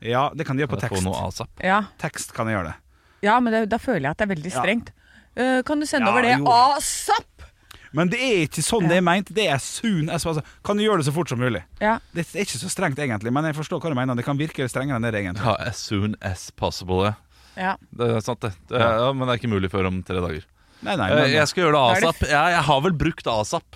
Speaker 2: Ja, det kan de gjøre på
Speaker 4: Kan jeg få
Speaker 2: tekst.
Speaker 4: noe ASAP?
Speaker 3: Ja,
Speaker 2: Tekst kan jeg gjøre det.
Speaker 3: ja men det, da føler jeg at det er veldig
Speaker 2: Ja.
Speaker 3: strengt. Eh, kan du sende
Speaker 2: Ja,
Speaker 3: over det
Speaker 2: jo.
Speaker 3: ASAP?
Speaker 2: Men det er ikke sånn det er meint. Det er soon as altså, Kan du gjøre det så fort som mulig?
Speaker 3: Ja.
Speaker 2: Det er ikke så strengt egentlig, men jeg forstår hva du mener. Det kan virke strengere enn det det egentlig
Speaker 4: Ja, as soon as possible. ja.
Speaker 3: ja.
Speaker 4: Det er sant, det. det er, ja, men det er ikke mulig før om tre dager.
Speaker 2: Nei, nei,
Speaker 4: Eh,
Speaker 2: men,
Speaker 4: Jeg skal gjøre
Speaker 3: Da er
Speaker 4: det
Speaker 3: det
Speaker 4: asap. Jeg, jeg har vel brukt asap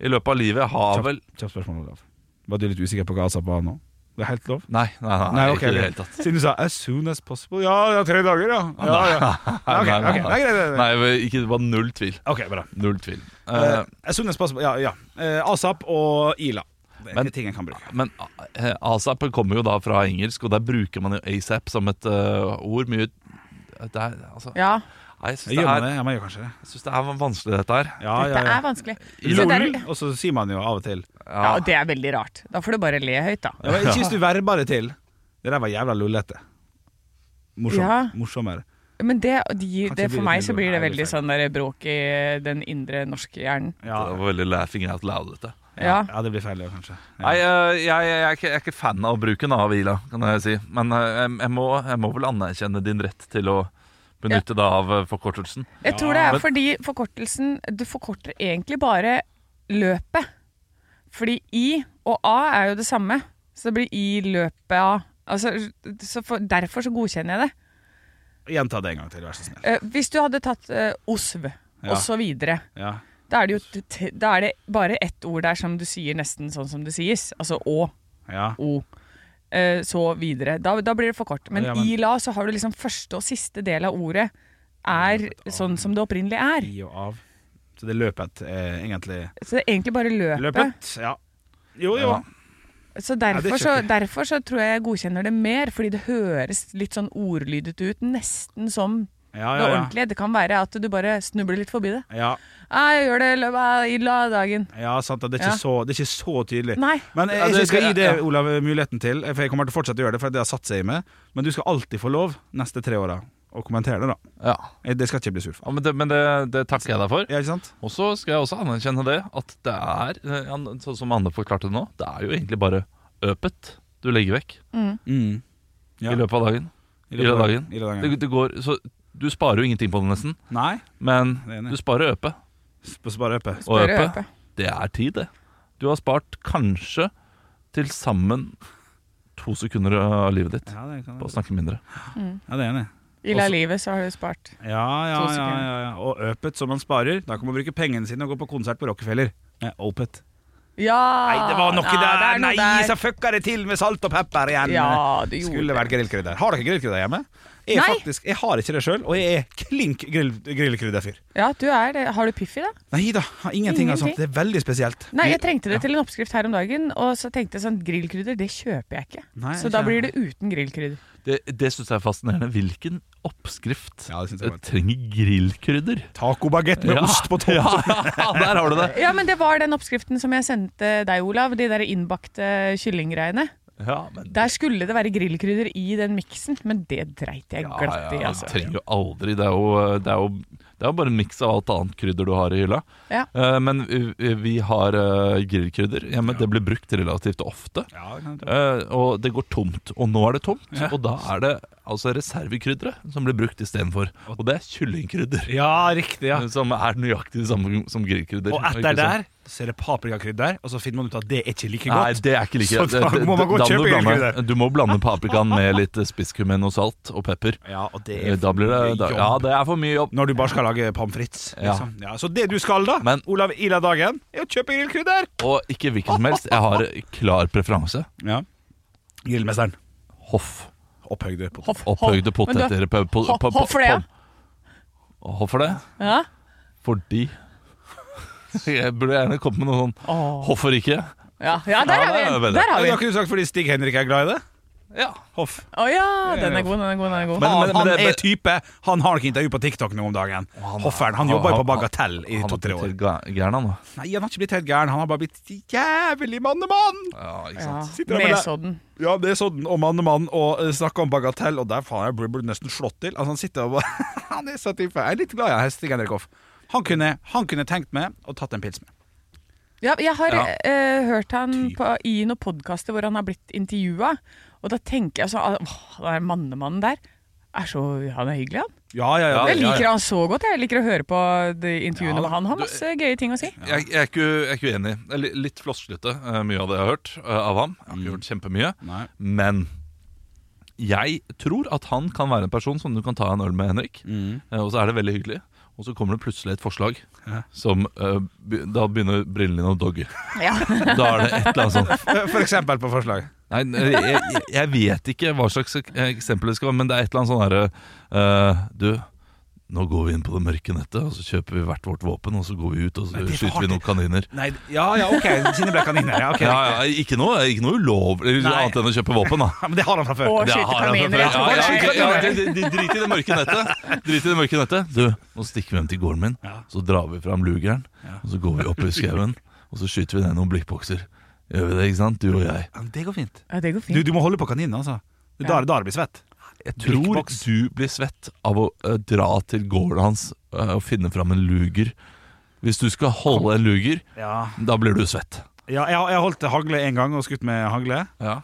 Speaker 4: i løpet av livet. Jeg har vel
Speaker 2: Kjapt spørsmål, Olav. Var du litt usikker på hva ASAP var nå? Det er helt lov?
Speaker 4: Nei, nei, nei,
Speaker 2: Nei, ok,
Speaker 4: ikke i det
Speaker 2: ok.
Speaker 4: hele tatt. Ah,
Speaker 2: Siden du sa 'as soon as possible' Ja, ja tre dager, ja. ja, ja. Ok,
Speaker 4: Nei, nei,
Speaker 2: ok,
Speaker 4: nei.
Speaker 2: det er greit, det er greit.
Speaker 4: Nei, vel, ikke, det var null tvil.
Speaker 2: Ok, bra.
Speaker 4: Null tvil. Eh,
Speaker 2: Eh, as soon as possible, ja. ja. Eh, ASAP og ILA. Det er
Speaker 4: Men-
Speaker 2: ikke ting jeg kan bruke.
Speaker 4: men eh, asap kommer jo da fra engelsk, og der bruker man jo asap som et eh, ord. Mye det er, altså,
Speaker 3: ja.
Speaker 4: Nei, jeg syns
Speaker 2: Jeg gjør
Speaker 4: det,
Speaker 2: man
Speaker 4: er-
Speaker 2: det? Ja, man gjør kanskje det.
Speaker 4: jeg synes det er vanskelig, dette her.
Speaker 2: Ja, ja,
Speaker 3: Dette
Speaker 2: ja.
Speaker 3: er vanskelig. Så det
Speaker 2: LOL,
Speaker 3: er,
Speaker 2: og så sier man jo av og til.
Speaker 3: ja, det er veldig rart. Da får du bare le høyt, da.
Speaker 2: Ja, men jeg syns du verber det til. Det der var jævla lullete. Morsom,
Speaker 3: Ja.
Speaker 2: Morsommere.
Speaker 3: Men det, de,
Speaker 2: Kanskje
Speaker 3: det,
Speaker 2: blir
Speaker 3: for
Speaker 2: det
Speaker 3: meg
Speaker 2: litt
Speaker 3: så blir det
Speaker 2: mindre-
Speaker 3: veldig sånn der bråk i eh, den indre norske hjernen.
Speaker 4: Det var veldig laughing out loud, dette.
Speaker 3: Ja.
Speaker 2: ja, det blir feil, ja, kanskje.
Speaker 4: Nei, eh, jeg, jeg, er ikke, jeg er ikke fan av bruken av Ila, kan jeg si. Men eh, jeg, jeg, må, jeg må vel anerkjenne din rett til å benytte deg av eh, forkortelsen.
Speaker 3: Jeg tror det er
Speaker 4: Men-
Speaker 3: fordi forkortelsen Du forkorter egentlig bare løpet. Fordi I og A er jo det samme. Så det blir I løpet av altså, så for, Derfor så godkjenner jeg det.
Speaker 2: Gjenta det en gang til, vær så snill.
Speaker 3: Eh, hvis du hadde tatt eh, OSV
Speaker 2: Ja.
Speaker 3: og så videre,
Speaker 2: Ja.
Speaker 3: da er, det jo, t- t- da er det bare ett ord der som du sier nesten sånn som det sies. Altså Å,
Speaker 2: ja.
Speaker 3: O. eh, så videre. Da, da blir det for kort. Men
Speaker 2: Ja, men-
Speaker 3: i la så har du liksom første og siste del av ordet er sånn som det opprinnelig er.
Speaker 2: I og av. Så det løpet eh, egentlig
Speaker 3: Så det er egentlig bare løpet.
Speaker 2: Løpet, ja. Jo, jo.
Speaker 4: Ja.
Speaker 3: Så
Speaker 2: Ja, det
Speaker 3: derfor,
Speaker 2: er
Speaker 3: så,
Speaker 2: kjekt.
Speaker 3: derfor så tror jeg jeg godkjenner det mer, fordi det høres litt sånn ordlydet ut, nesten som
Speaker 2: Ja, ja,
Speaker 3: det
Speaker 2: ja.
Speaker 3: ordentlige. Det kan være at du bare snubler litt forbi det.
Speaker 2: Ja,
Speaker 3: Ja, jeg gjør det i løpet av i løpet av dagen.
Speaker 2: ja sant. Det er ikke,
Speaker 3: Ja.
Speaker 2: så, det er ikke så tydelig.
Speaker 3: Nei.
Speaker 2: Men jeg,
Speaker 4: Ja,
Speaker 2: jeg,
Speaker 4: det-
Speaker 2: skal gi det,
Speaker 4: ja.
Speaker 2: Olav, muligheten til, eh, for jeg kommer til å fortsette å gjøre det, for det har satt seg i meg. Men du skal alltid få lov neste tre åra å kommentere det, da.
Speaker 4: Ja,
Speaker 2: Jeg- Det skal ikke jeg bli sur for.
Speaker 4: ja Men, det, men det, det takker jeg deg for.
Speaker 2: Ja, ikke sant?
Speaker 4: Og så skal jeg også anerkjenne det at det er, eh, an- sånn som Anne forklarte det nå, det er jo egentlig bare øpet du legger vekk
Speaker 2: Mm. Ja.
Speaker 4: i løpet av dagen.
Speaker 2: I
Speaker 4: I løpet av dagen.
Speaker 2: I løpet av
Speaker 4: Det,
Speaker 2: dagen.
Speaker 4: det går, så du sparer jo ingenting på det, nesten.
Speaker 2: Nei,
Speaker 4: Men
Speaker 2: Det er enig.
Speaker 4: du sparer øpet.
Speaker 2: sp- spare øpe.
Speaker 4: Og
Speaker 3: Bare
Speaker 4: øpe,
Speaker 3: øpe.
Speaker 4: det er tid, det. Du har spart kanskje til sammen to sekunder av livet ditt
Speaker 2: Ja, det kan
Speaker 4: på å
Speaker 2: jeg.
Speaker 4: snakke mindre.
Speaker 2: Ja, det er enig.
Speaker 3: I la livet så har du spart.
Speaker 2: Ja, ja,
Speaker 3: To
Speaker 2: ja,
Speaker 3: sekunder.
Speaker 2: ja, ja. Og øpet som man sparer. Da kan man bruke pengene sine og gå på konsert på Rockefeller. Med Opet.
Speaker 3: Ja!
Speaker 2: Nei, det var noe
Speaker 3: ja,
Speaker 2: der!
Speaker 3: Ah, det er
Speaker 2: Nei,
Speaker 3: noe
Speaker 2: så fucka det til med salt og pepper igjen!
Speaker 3: Ja, du gjorde
Speaker 2: Skulle vært grillkrydder. Har dere grillkrydder hjemme? Jeg,
Speaker 3: Nei.
Speaker 2: Faktisk, jeg har ikke det sjøl, og jeg er klink grill, grillkrydderfyr.
Speaker 3: Ja, du er det. Har du Piffi, da?
Speaker 2: Nei da, har ingenting av
Speaker 3: Ingenting.
Speaker 2: sånt. Det er veldig spesielt.
Speaker 3: Nei, jeg trengte det til en oppskrift her om dagen, og så tenkte jeg sånn Grillkrydder, det kjøper jeg ikke.
Speaker 2: Nei,
Speaker 3: så
Speaker 2: ikke
Speaker 3: da
Speaker 2: jeg.
Speaker 3: blir det uten grillkrydder.
Speaker 4: Det, det syns jeg er fascinerende. Hvilken oppskrift
Speaker 2: Ja, det synes jeg var-
Speaker 4: trenger grillkrydder?
Speaker 2: Tacobagett med
Speaker 4: Ja.
Speaker 2: ost på topp.
Speaker 4: Ja, der har du det!
Speaker 3: Ja, men det var den oppskriften som jeg sendte deg, Olav. De der innbakte kyllinggreiene.
Speaker 4: Ja, men
Speaker 3: Der skulle det være grillkrydder i den miksen, men det dreit jeg
Speaker 4: ja,
Speaker 3: glatt i.
Speaker 4: ja,
Speaker 3: Altså.
Speaker 4: trenger jo aldri det er jo, det er jo Det er jo bare en miks av alt annet krydder du har i hylla.
Speaker 3: Ja.
Speaker 4: Eh, men vi, vi har eh, grillkrydder hjemme. Det blir brukt relativt ofte. Eh, og det går tomt. Og nå er det tomt,
Speaker 2: Ja.
Speaker 4: og da er det altså reservekrydderet som blir brukt istedenfor. Og det er kyllingkrydder.
Speaker 2: Ja, riktig, ja.
Speaker 4: Som er nøyaktig det samme som grillkrydder.
Speaker 2: Og
Speaker 4: ikke
Speaker 2: etter
Speaker 4: sant?
Speaker 2: der så er det paprikakrydder, og så finner man ut at det er ikke like godt.
Speaker 4: Nei, det er ikke like
Speaker 2: Så da
Speaker 4: det-
Speaker 2: må man gå og kjøpe
Speaker 4: da må du blande-
Speaker 2: grillkrydder.
Speaker 4: Du må blande paprikaen med litt spisskummin og salt og pepper.
Speaker 2: Ja, og det
Speaker 4: Eh,
Speaker 2: er
Speaker 4: da blir det- da- ja, det er for mye jobb.
Speaker 2: Når du bare skal lage pommes frites.
Speaker 4: Ja.
Speaker 2: Liksom. Ja. så det du skal da, Olav Ila Dagen, er å kjøpe grillkrydder!
Speaker 4: Og ikke hvilken som helst. Jeg har klar preferanse.
Speaker 2: Ja. Grillmesteren.
Speaker 4: Hoff.
Speaker 2: Opphøyde poteter.
Speaker 3: Hoff,
Speaker 4: Opphøyde
Speaker 3: hoff. Men du-
Speaker 4: poteter. på- på-
Speaker 3: hoff-
Speaker 4: på-
Speaker 3: hoff for det, ja.
Speaker 4: på- Hvorfor det?
Speaker 3: Ja.
Speaker 4: Fordi Jeg burde gjerne kommet med noe sånn
Speaker 3: Åh.
Speaker 4: Hvorfor ikke?
Speaker 3: Ja, ja, der er vi.
Speaker 4: Ja, det er veldig.
Speaker 3: Der har vi.
Speaker 2: har ikke du sagt fordi Stig Henrik er glad i det?
Speaker 4: Ja.
Speaker 2: Hoff.
Speaker 3: Å ja, den er god, den er god. den er god
Speaker 4: Men-
Speaker 2: han,
Speaker 4: men- men-
Speaker 2: han er type Han har nok intervju på TikTok nå om dagen. Hofferen. Han jobber jo på Bagatell i to-tre år.
Speaker 4: Gæren han da
Speaker 2: Nei, han har ikke blitt helt gæren. Han har bare blitt jævlig mannemann!
Speaker 4: Ja, ikke
Speaker 3: ja.
Speaker 4: sant
Speaker 2: Sitter han med deg-
Speaker 3: Nesodden.
Speaker 2: Ja, det er sånn om mann og mann og eh, snakker om bagatell, og der faen, jeg blir- blir nesten slått til. Altså, han sitter og bare Han er så type. Jeg er litt glad i han, Stig Henrik Hoff. Han kunne, han kunne tenkt meg og tatt en pils med.
Speaker 3: Ja, jeg har
Speaker 4: Ja.
Speaker 3: eh, hørt han på, i noen podkaster hvor han har blitt intervjua. Og da tenker jeg sånn Åh, den mannemannen der er så, Han er hyggelig, han.
Speaker 2: Ja, ja, ja.
Speaker 3: Jeg
Speaker 4: ja,
Speaker 3: liker han så godt. Jeg liker å høre på de intervjuene
Speaker 4: Ja,
Speaker 3: med han. Han har
Speaker 4: du-
Speaker 3: masse gøye ting å si.
Speaker 4: jeg, jeg, er ikke, jeg er ikke uenig Jeg er li- Litt flosslete eh, Mye av det jeg har hørt eh, av ham Jeg har
Speaker 2: Mm.
Speaker 4: ikke hørt kjempemye
Speaker 2: Nei.
Speaker 4: Men jeg tror at han kan være en person Som du kan ta en øl med Henrik
Speaker 2: Mm.
Speaker 4: Eh, Og så er det veldig hyggelig Og så kommer det plutselig et forslag Som eh, be- Da begynner brillene dine å dogge
Speaker 3: Ja.
Speaker 4: Da er det et eller annet sånn, sånt
Speaker 2: Eh, For eksempel på forslag.
Speaker 4: Nei, nei, jeg, jeg- jeg vet ikke hva slags ek- eksempel det skal være, men det er et eller annet sånn herre eh, Du, nå går vi inn på det mørke nettet, og så kjøper vi hvert vårt våpen, og så går vi ut, og så
Speaker 2: Nei, det er for
Speaker 4: skyter vi
Speaker 2: hardt.
Speaker 4: noen kaniner.
Speaker 2: Nei, ja ja, OK. Sine ble kaniner. Ja, ok.
Speaker 4: Ja, ja, ikke noe, ikke noe ulovlig
Speaker 2: Nei.
Speaker 4: annet enn å kjøpe våpen, da.
Speaker 2: Ja, Men det har han fra før.
Speaker 3: Og
Speaker 4: Det
Speaker 3: skyte
Speaker 4: har han
Speaker 3: kaniner.
Speaker 4: fra før. Ja,
Speaker 3: etterpå.
Speaker 4: ja, ja, ja, de, de, de Drit i det mørke nettet. Drit i det mørke nettet. Du, nå stikker vi hjem til gården min, så drar vi fram lugeren, og så går vi opp i skauen, og så skyter vi ned noen blikkbokser. Gjør vi det, ikke sant? Du og jeg.
Speaker 2: Ja, men det går fint.
Speaker 3: Ja, det går
Speaker 2: Du,
Speaker 3: fint.
Speaker 2: du må holde på kaninen, altså. Det er Da, da det blir svett.
Speaker 4: Jeg tror
Speaker 2: Blikkboks.
Speaker 4: du blir svett av å eh, dra til gården hans eh, og finne fram en luger. Hvis du skal holde en luger,
Speaker 2: Ja,
Speaker 4: da blir du svett.
Speaker 2: ja jeg, jeg holdt hagle en gang og skutt med hagle.
Speaker 4: Ja.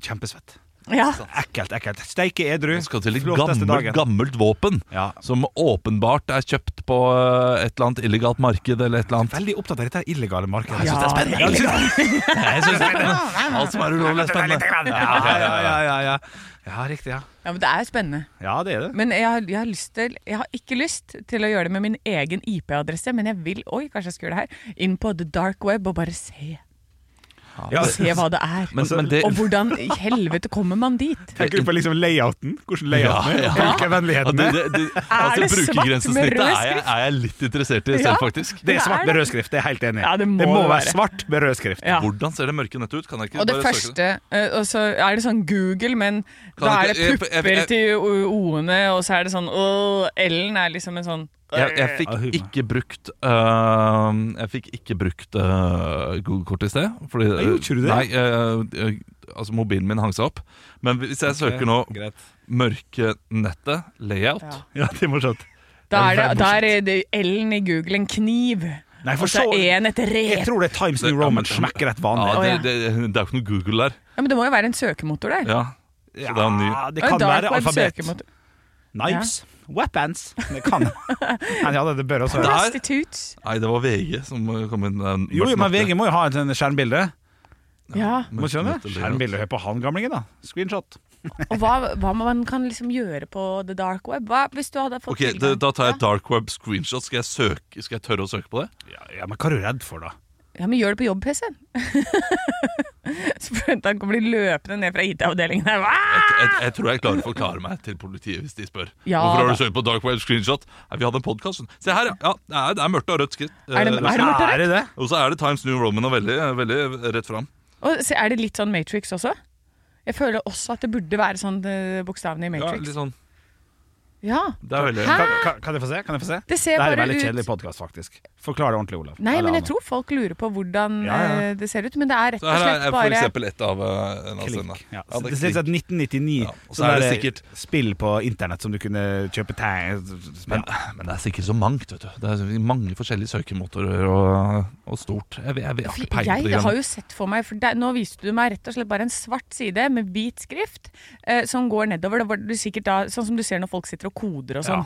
Speaker 2: Kjempesvett.
Speaker 3: Ja.
Speaker 2: Ekkelt, ekkelt. Steike edru.
Speaker 4: Skal til et
Speaker 2: Flotteste
Speaker 4: gammelt,
Speaker 2: dagen.
Speaker 4: gammelt våpen
Speaker 2: Ja.
Speaker 4: som åpenbart er kjøpt på eh, et eller annet illegalt marked eller et eller annet.
Speaker 2: Veldig opptatt av dette illegale markedet.
Speaker 3: Ja, det er spennende.
Speaker 2: Ja, jeg synes-
Speaker 4: Jeg synes det er spennende. Alt som er ulovlig, er spennende.
Speaker 2: Ja, ja, ja, ja, ja. ja riktig, ja.
Speaker 3: ja, men det er spennende.
Speaker 2: Ja, det er det.
Speaker 3: Men jeg har, jeg, har lyst til, jeg har ikke lyst til å gjøre det med min egen IP-adresse, men jeg vil oi, kanskje jeg skal gjøre det her, inn på the dark web og bare se.
Speaker 2: Ja,
Speaker 3: Se hva det er.
Speaker 4: Men, men det,
Speaker 3: Og hvordan i helvete kommer man dit?
Speaker 2: Tenker du på liksom layouten? Hvordan layouten er? og Hvilken
Speaker 4: ja,
Speaker 2: vennligheten
Speaker 4: det,
Speaker 2: er?
Speaker 4: det, det,
Speaker 3: det
Speaker 4: altså,
Speaker 3: svart med rød
Speaker 4: brukergrensesnittet er, jeg-
Speaker 3: skrift?
Speaker 4: er jeg litt interessert i selv,
Speaker 3: Ja.
Speaker 4: faktisk.
Speaker 2: Det er svart med
Speaker 3: det.
Speaker 2: rød skrift, det er jeg helt enig i.
Speaker 3: Ja, det må det
Speaker 2: være
Speaker 3: være.
Speaker 2: svart med rød skrift.
Speaker 3: Ja.
Speaker 4: Hvordan ser det mørke nettet ut? Kan jeg ikke
Speaker 3: Og det
Speaker 4: bare søke
Speaker 3: første eh, Og så er det sånn Google, men
Speaker 4: Kan
Speaker 3: da er
Speaker 4: jeg
Speaker 3: det
Speaker 4: ikke- jeg-
Speaker 3: pupper
Speaker 4: jeg-
Speaker 3: til o- o-ene, og så er det sånn øh, L-en er liksom en sånn
Speaker 4: jeg, jeg fikk
Speaker 2: Ah, humor.
Speaker 4: ikke brukt øh, Jeg fikk ikke brukt øh, Google-kort i sted. Fordi,
Speaker 2: Nei, gjorde ikke du det?
Speaker 4: Nei, øh, øh, altså mobilen min hang seg opp. Men hvis jeg søker nå
Speaker 2: Greit.
Speaker 4: Mørkenettet layout
Speaker 3: Ja.
Speaker 2: Ja, det er morsomt.
Speaker 3: Da er,
Speaker 2: det
Speaker 3: det,
Speaker 2: er
Speaker 3: da er det L-en i Google en kniv,
Speaker 2: Nei, for
Speaker 3: og så
Speaker 2: så-
Speaker 3: er en et
Speaker 2: Jeg
Speaker 3: rep.
Speaker 2: tror det er Times New
Speaker 4: Det- ja, men-
Speaker 2: Roman smekker rett
Speaker 4: ja,
Speaker 2: vanlig.
Speaker 3: Å,
Speaker 4: det,
Speaker 3: ja.
Speaker 4: det, det er jo ikke noe Google der.
Speaker 3: Ja, men det må jo være en søkemotor der.
Speaker 4: Ja, så det er en ny
Speaker 2: Ja, det
Speaker 3: Ja,
Speaker 2: kan
Speaker 3: dark
Speaker 2: være
Speaker 3: web
Speaker 2: alfabet.
Speaker 3: søkemotor.
Speaker 2: Knives. Weapons. Det kan Nei, Ja, det- det bør også være.
Speaker 3: Prostitutes.
Speaker 4: Nei, det var VG som øh, kom inn. øh,
Speaker 2: Jo, jo, men
Speaker 4: mørkenettet.
Speaker 2: VG må jo ha et sånn skjermbilde.
Speaker 3: Ja.
Speaker 2: Må ikke skjønne?
Speaker 4: Mørkenettet layout.
Speaker 2: Skjermbilde, hør på han gamlingen, da. Screenshot.
Speaker 3: Og hva, hva man kan liksom gjøre på the dark web? Hva, hvis du hadde fått
Speaker 4: Ok, da, da tar jeg et dark web screenshot. Skal jeg, søke, skal jeg tørre å søke på det?
Speaker 2: Ja, ja, men hva er du redd for, da?
Speaker 3: Ja, men gjør det på jobb-PC-en. Så forventer han kommer de løpende ned fra IT-avdelingen her. Hva?
Speaker 4: Jeg, jeg tror jeg klarer å forklare meg til politiet hvis de spør.
Speaker 3: Ja,
Speaker 4: Hvorfor har du
Speaker 3: da.
Speaker 4: søkt på dark web screenshot? Nei, vi hadde en podkast. Se her, ja. ja. Det er, det er mørkt og rødt skritt. øh,
Speaker 3: Er det-
Speaker 4: rødt
Speaker 3: er det mørkt og rødt?
Speaker 2: det det?
Speaker 4: Og så er det Times New Roman og veldig, veldig rett fram.
Speaker 3: Og se, er det litt sånn Matrix også? Jeg føler også at det burde være sånn eh, bokstavene i
Speaker 4: Ja,
Speaker 3: Matrix.
Speaker 4: litt sånn
Speaker 3: Ja.
Speaker 4: Det er veldig...
Speaker 2: Kan, kan, kan jeg få se? Kan jeg få se?
Speaker 3: Det
Speaker 2: er
Speaker 3: ser
Speaker 2: en
Speaker 3: bare
Speaker 2: veldig
Speaker 3: ut-
Speaker 2: kjedelig podkast, faktisk. Forklar det ordentlig, Olav.
Speaker 3: Nei,
Speaker 2: Eller
Speaker 3: men jeg
Speaker 2: Anne.
Speaker 3: tror folk lurer på hvordan
Speaker 2: Ja, ja.
Speaker 3: eh, det ser ut. Men det er rett
Speaker 4: Så
Speaker 3: og
Speaker 4: her
Speaker 3: slett
Speaker 4: er for
Speaker 3: bare
Speaker 4: eksempel et av eh, en av scenene.
Speaker 2: Klikk. Ja.
Speaker 4: Ja, det
Speaker 2: det
Speaker 4: er
Speaker 2: ser ut som
Speaker 4: klikk.
Speaker 2: et 1999
Speaker 4: og så
Speaker 2: sånn
Speaker 4: er det
Speaker 2: der
Speaker 4: sikkert-
Speaker 2: spill på internett som du kunne kjøpe tegn ja.
Speaker 4: Men, men det er sikkert så mangt, vet du. Det er så mange forskjellige søkemotorer og, og stort. Jeg, jeg, jeg har ikke
Speaker 3: Jeg
Speaker 4: peiling på det.
Speaker 3: har jo sett for meg for der, Nå viste du meg rett og slett bare en svart side med hvit skrift eh, som går nedover. Det var det sikkert da, Sånn som du ser når folk sitter og koder og sånn.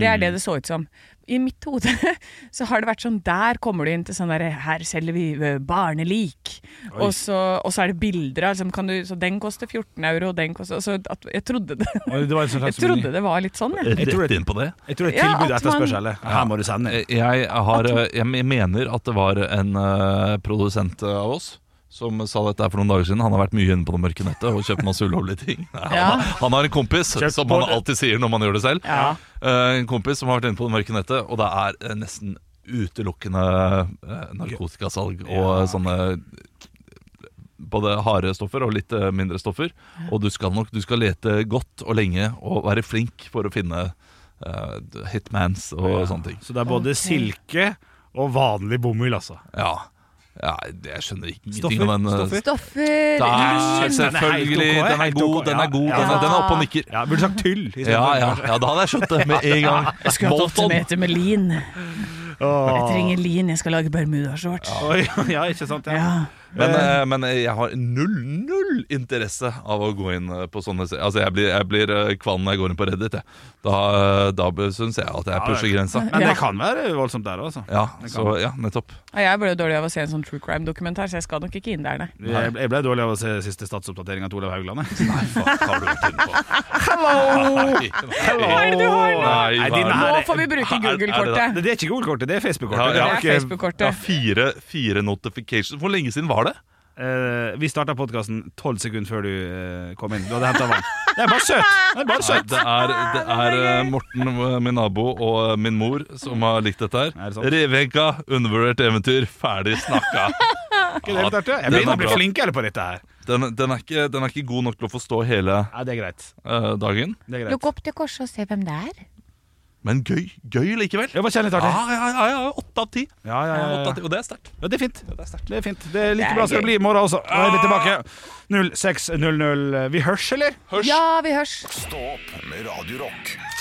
Speaker 3: Det er det det så ut som. I mitt hode så har det vært sånn Der kommer du inn til sånn derre Her selger vi eh, barnelik.
Speaker 2: Oi.
Speaker 3: Og så, og så er det bilder av liksom, kan du, Så den koster 14 euro, den koster og så at, Jeg trodde det,
Speaker 2: Og det var en sånn
Speaker 3: jeg
Speaker 2: slags meny.
Speaker 3: trodde det var litt sånn, jeg.
Speaker 2: Jeg tror
Speaker 4: Rett
Speaker 2: det-
Speaker 4: inn på det.
Speaker 2: Jeg tror det er
Speaker 3: Ja,
Speaker 2: tilbud og
Speaker 3: at man-
Speaker 2: etterspørsel. eller? Her må du sende.
Speaker 4: Eh, Jeg, har, jeg mener at det var en eh, produsent av oss som sa dette her for noen dager siden. Han har vært mye inne på det mørke nettet og kjøpt masse ulovlige ting. Nei,
Speaker 3: Ja.
Speaker 4: han, har- han har en kompis,
Speaker 2: Kjøpt
Speaker 4: som
Speaker 2: på
Speaker 4: han alltid sier når man gjør det selv.
Speaker 3: Ja.
Speaker 4: Eh, en kompis som har vært inne på det mørke nettet, og det er eh, nesten utelukkende eh, narkotikasalg og eh, sånne både harde stoffer og litt eh, mindre stoffer. Og du skal nok du skal lete godt og lenge og være flink for å finne eh, hitmans og sånne ting.
Speaker 2: Så det er både silke og vanlig bomull, altså.
Speaker 4: Ja. ja jeg skjønner ikke
Speaker 2: Stoffer,
Speaker 4: ingenting om den. eh,
Speaker 2: stoffer.
Speaker 3: Stoffer,
Speaker 4: Det
Speaker 3: lin.
Speaker 4: er
Speaker 2: Den
Speaker 4: selvfølgelig
Speaker 2: er helt ok,
Speaker 4: Den er
Speaker 2: helt
Speaker 4: god,
Speaker 2: ok,
Speaker 4: den
Speaker 2: ja.
Speaker 4: er god.
Speaker 2: Ja.
Speaker 4: Den er, den er oppe og nikker.
Speaker 2: Ja, Burde sagt tyll. i stedet
Speaker 4: Ja,
Speaker 2: for-
Speaker 4: ja, ja, da hadde jeg skjønt det med en gang.
Speaker 3: Jeg skulle hatt
Speaker 4: Molton.
Speaker 3: åttemeter med lin. Jeg
Speaker 2: Åh.
Speaker 3: trenger lin, jeg skal lage bermudashorts.
Speaker 2: Oi, ja, ikke sant? Ja.
Speaker 3: Ja.
Speaker 4: Men, eh, men jeg har null, null interesse av å gå inn eh, på sånne se- Altså, jeg blir, jeg blir eh, kvalm når jeg går inn på Reddit. Jeg. Da, eh, da syns jeg at jeg pusher grensa.
Speaker 2: Men
Speaker 3: Ja.
Speaker 2: det kan være voldsomt der også. altså.
Speaker 4: Ja, så ja, nettopp.
Speaker 3: Og Jeg ble jo dårlig av å se en sånn true crime-dokumentar, så jeg skal nok ikke inn der, nei.
Speaker 2: Jeg jeg ble dårlig av å se siste statsoppdatering av Olav Haugland. jeg.
Speaker 4: Nei, faen, hva har du vært inne på? Hello!
Speaker 3: Hva er det du har nå?
Speaker 4: Nei,
Speaker 2: Nei,
Speaker 4: hva
Speaker 2: dine
Speaker 4: er det?
Speaker 2: her-
Speaker 3: Nå får vi bruke
Speaker 4: Er- er det
Speaker 2: Det,
Speaker 3: Google-kortet.
Speaker 2: det er ikke Google-kortet, det er
Speaker 4: Ja,
Speaker 2: Facebook-kortet.
Speaker 4: ja.
Speaker 3: Det
Speaker 2: Det
Speaker 3: er
Speaker 2: har ikke-
Speaker 4: Ja,
Speaker 3: Facebook-kortet.
Speaker 4: fire, fire notifications. Hvor lenge siden var det?
Speaker 2: Eh, vi starta podkasten tolv sekunder før du eh, kom inn. Du hadde henta vann. Det er bare søtt! Det er bare
Speaker 4: Nei,
Speaker 2: søtt.
Speaker 4: det er, det er eh, Morten, eh, min nabo, og eh, min mor som har likt dette
Speaker 2: Er
Speaker 4: her.
Speaker 2: det sant?
Speaker 4: Revehenka, undervurdert eventyr, ferdig snakka.
Speaker 2: Ikke det helt artig? Jeg
Speaker 4: den er
Speaker 2: begynner å bli
Speaker 4: bra.
Speaker 2: flinkere på dette her.
Speaker 4: Den, den, er ikke, den er ikke god nok til å forstå hele
Speaker 2: Ja, det er greit.
Speaker 4: eh, dagen,
Speaker 2: Det er greit.
Speaker 3: opp til korset og se hvem det er.
Speaker 4: men gøy, gøy likevel.
Speaker 2: Det var kjærlig
Speaker 4: Ja,
Speaker 2: artig.
Speaker 4: ja, ja, ja, åtte av ti.
Speaker 2: Ja, ja, ja,
Speaker 4: Åtte
Speaker 2: ja.
Speaker 4: av ti, Og det er sterkt.
Speaker 2: Ja, det er fint.
Speaker 4: Det er sterkt.
Speaker 2: Det er fint. Det er
Speaker 3: Det
Speaker 2: like
Speaker 3: er
Speaker 2: bra som det
Speaker 3: gøy.
Speaker 2: blir i morgen også. Nå er vi tilbake. 06.00. Vi hørs, eller?
Speaker 3: Ja, vi hørs.
Speaker 1: Stå opp med Radio Rock.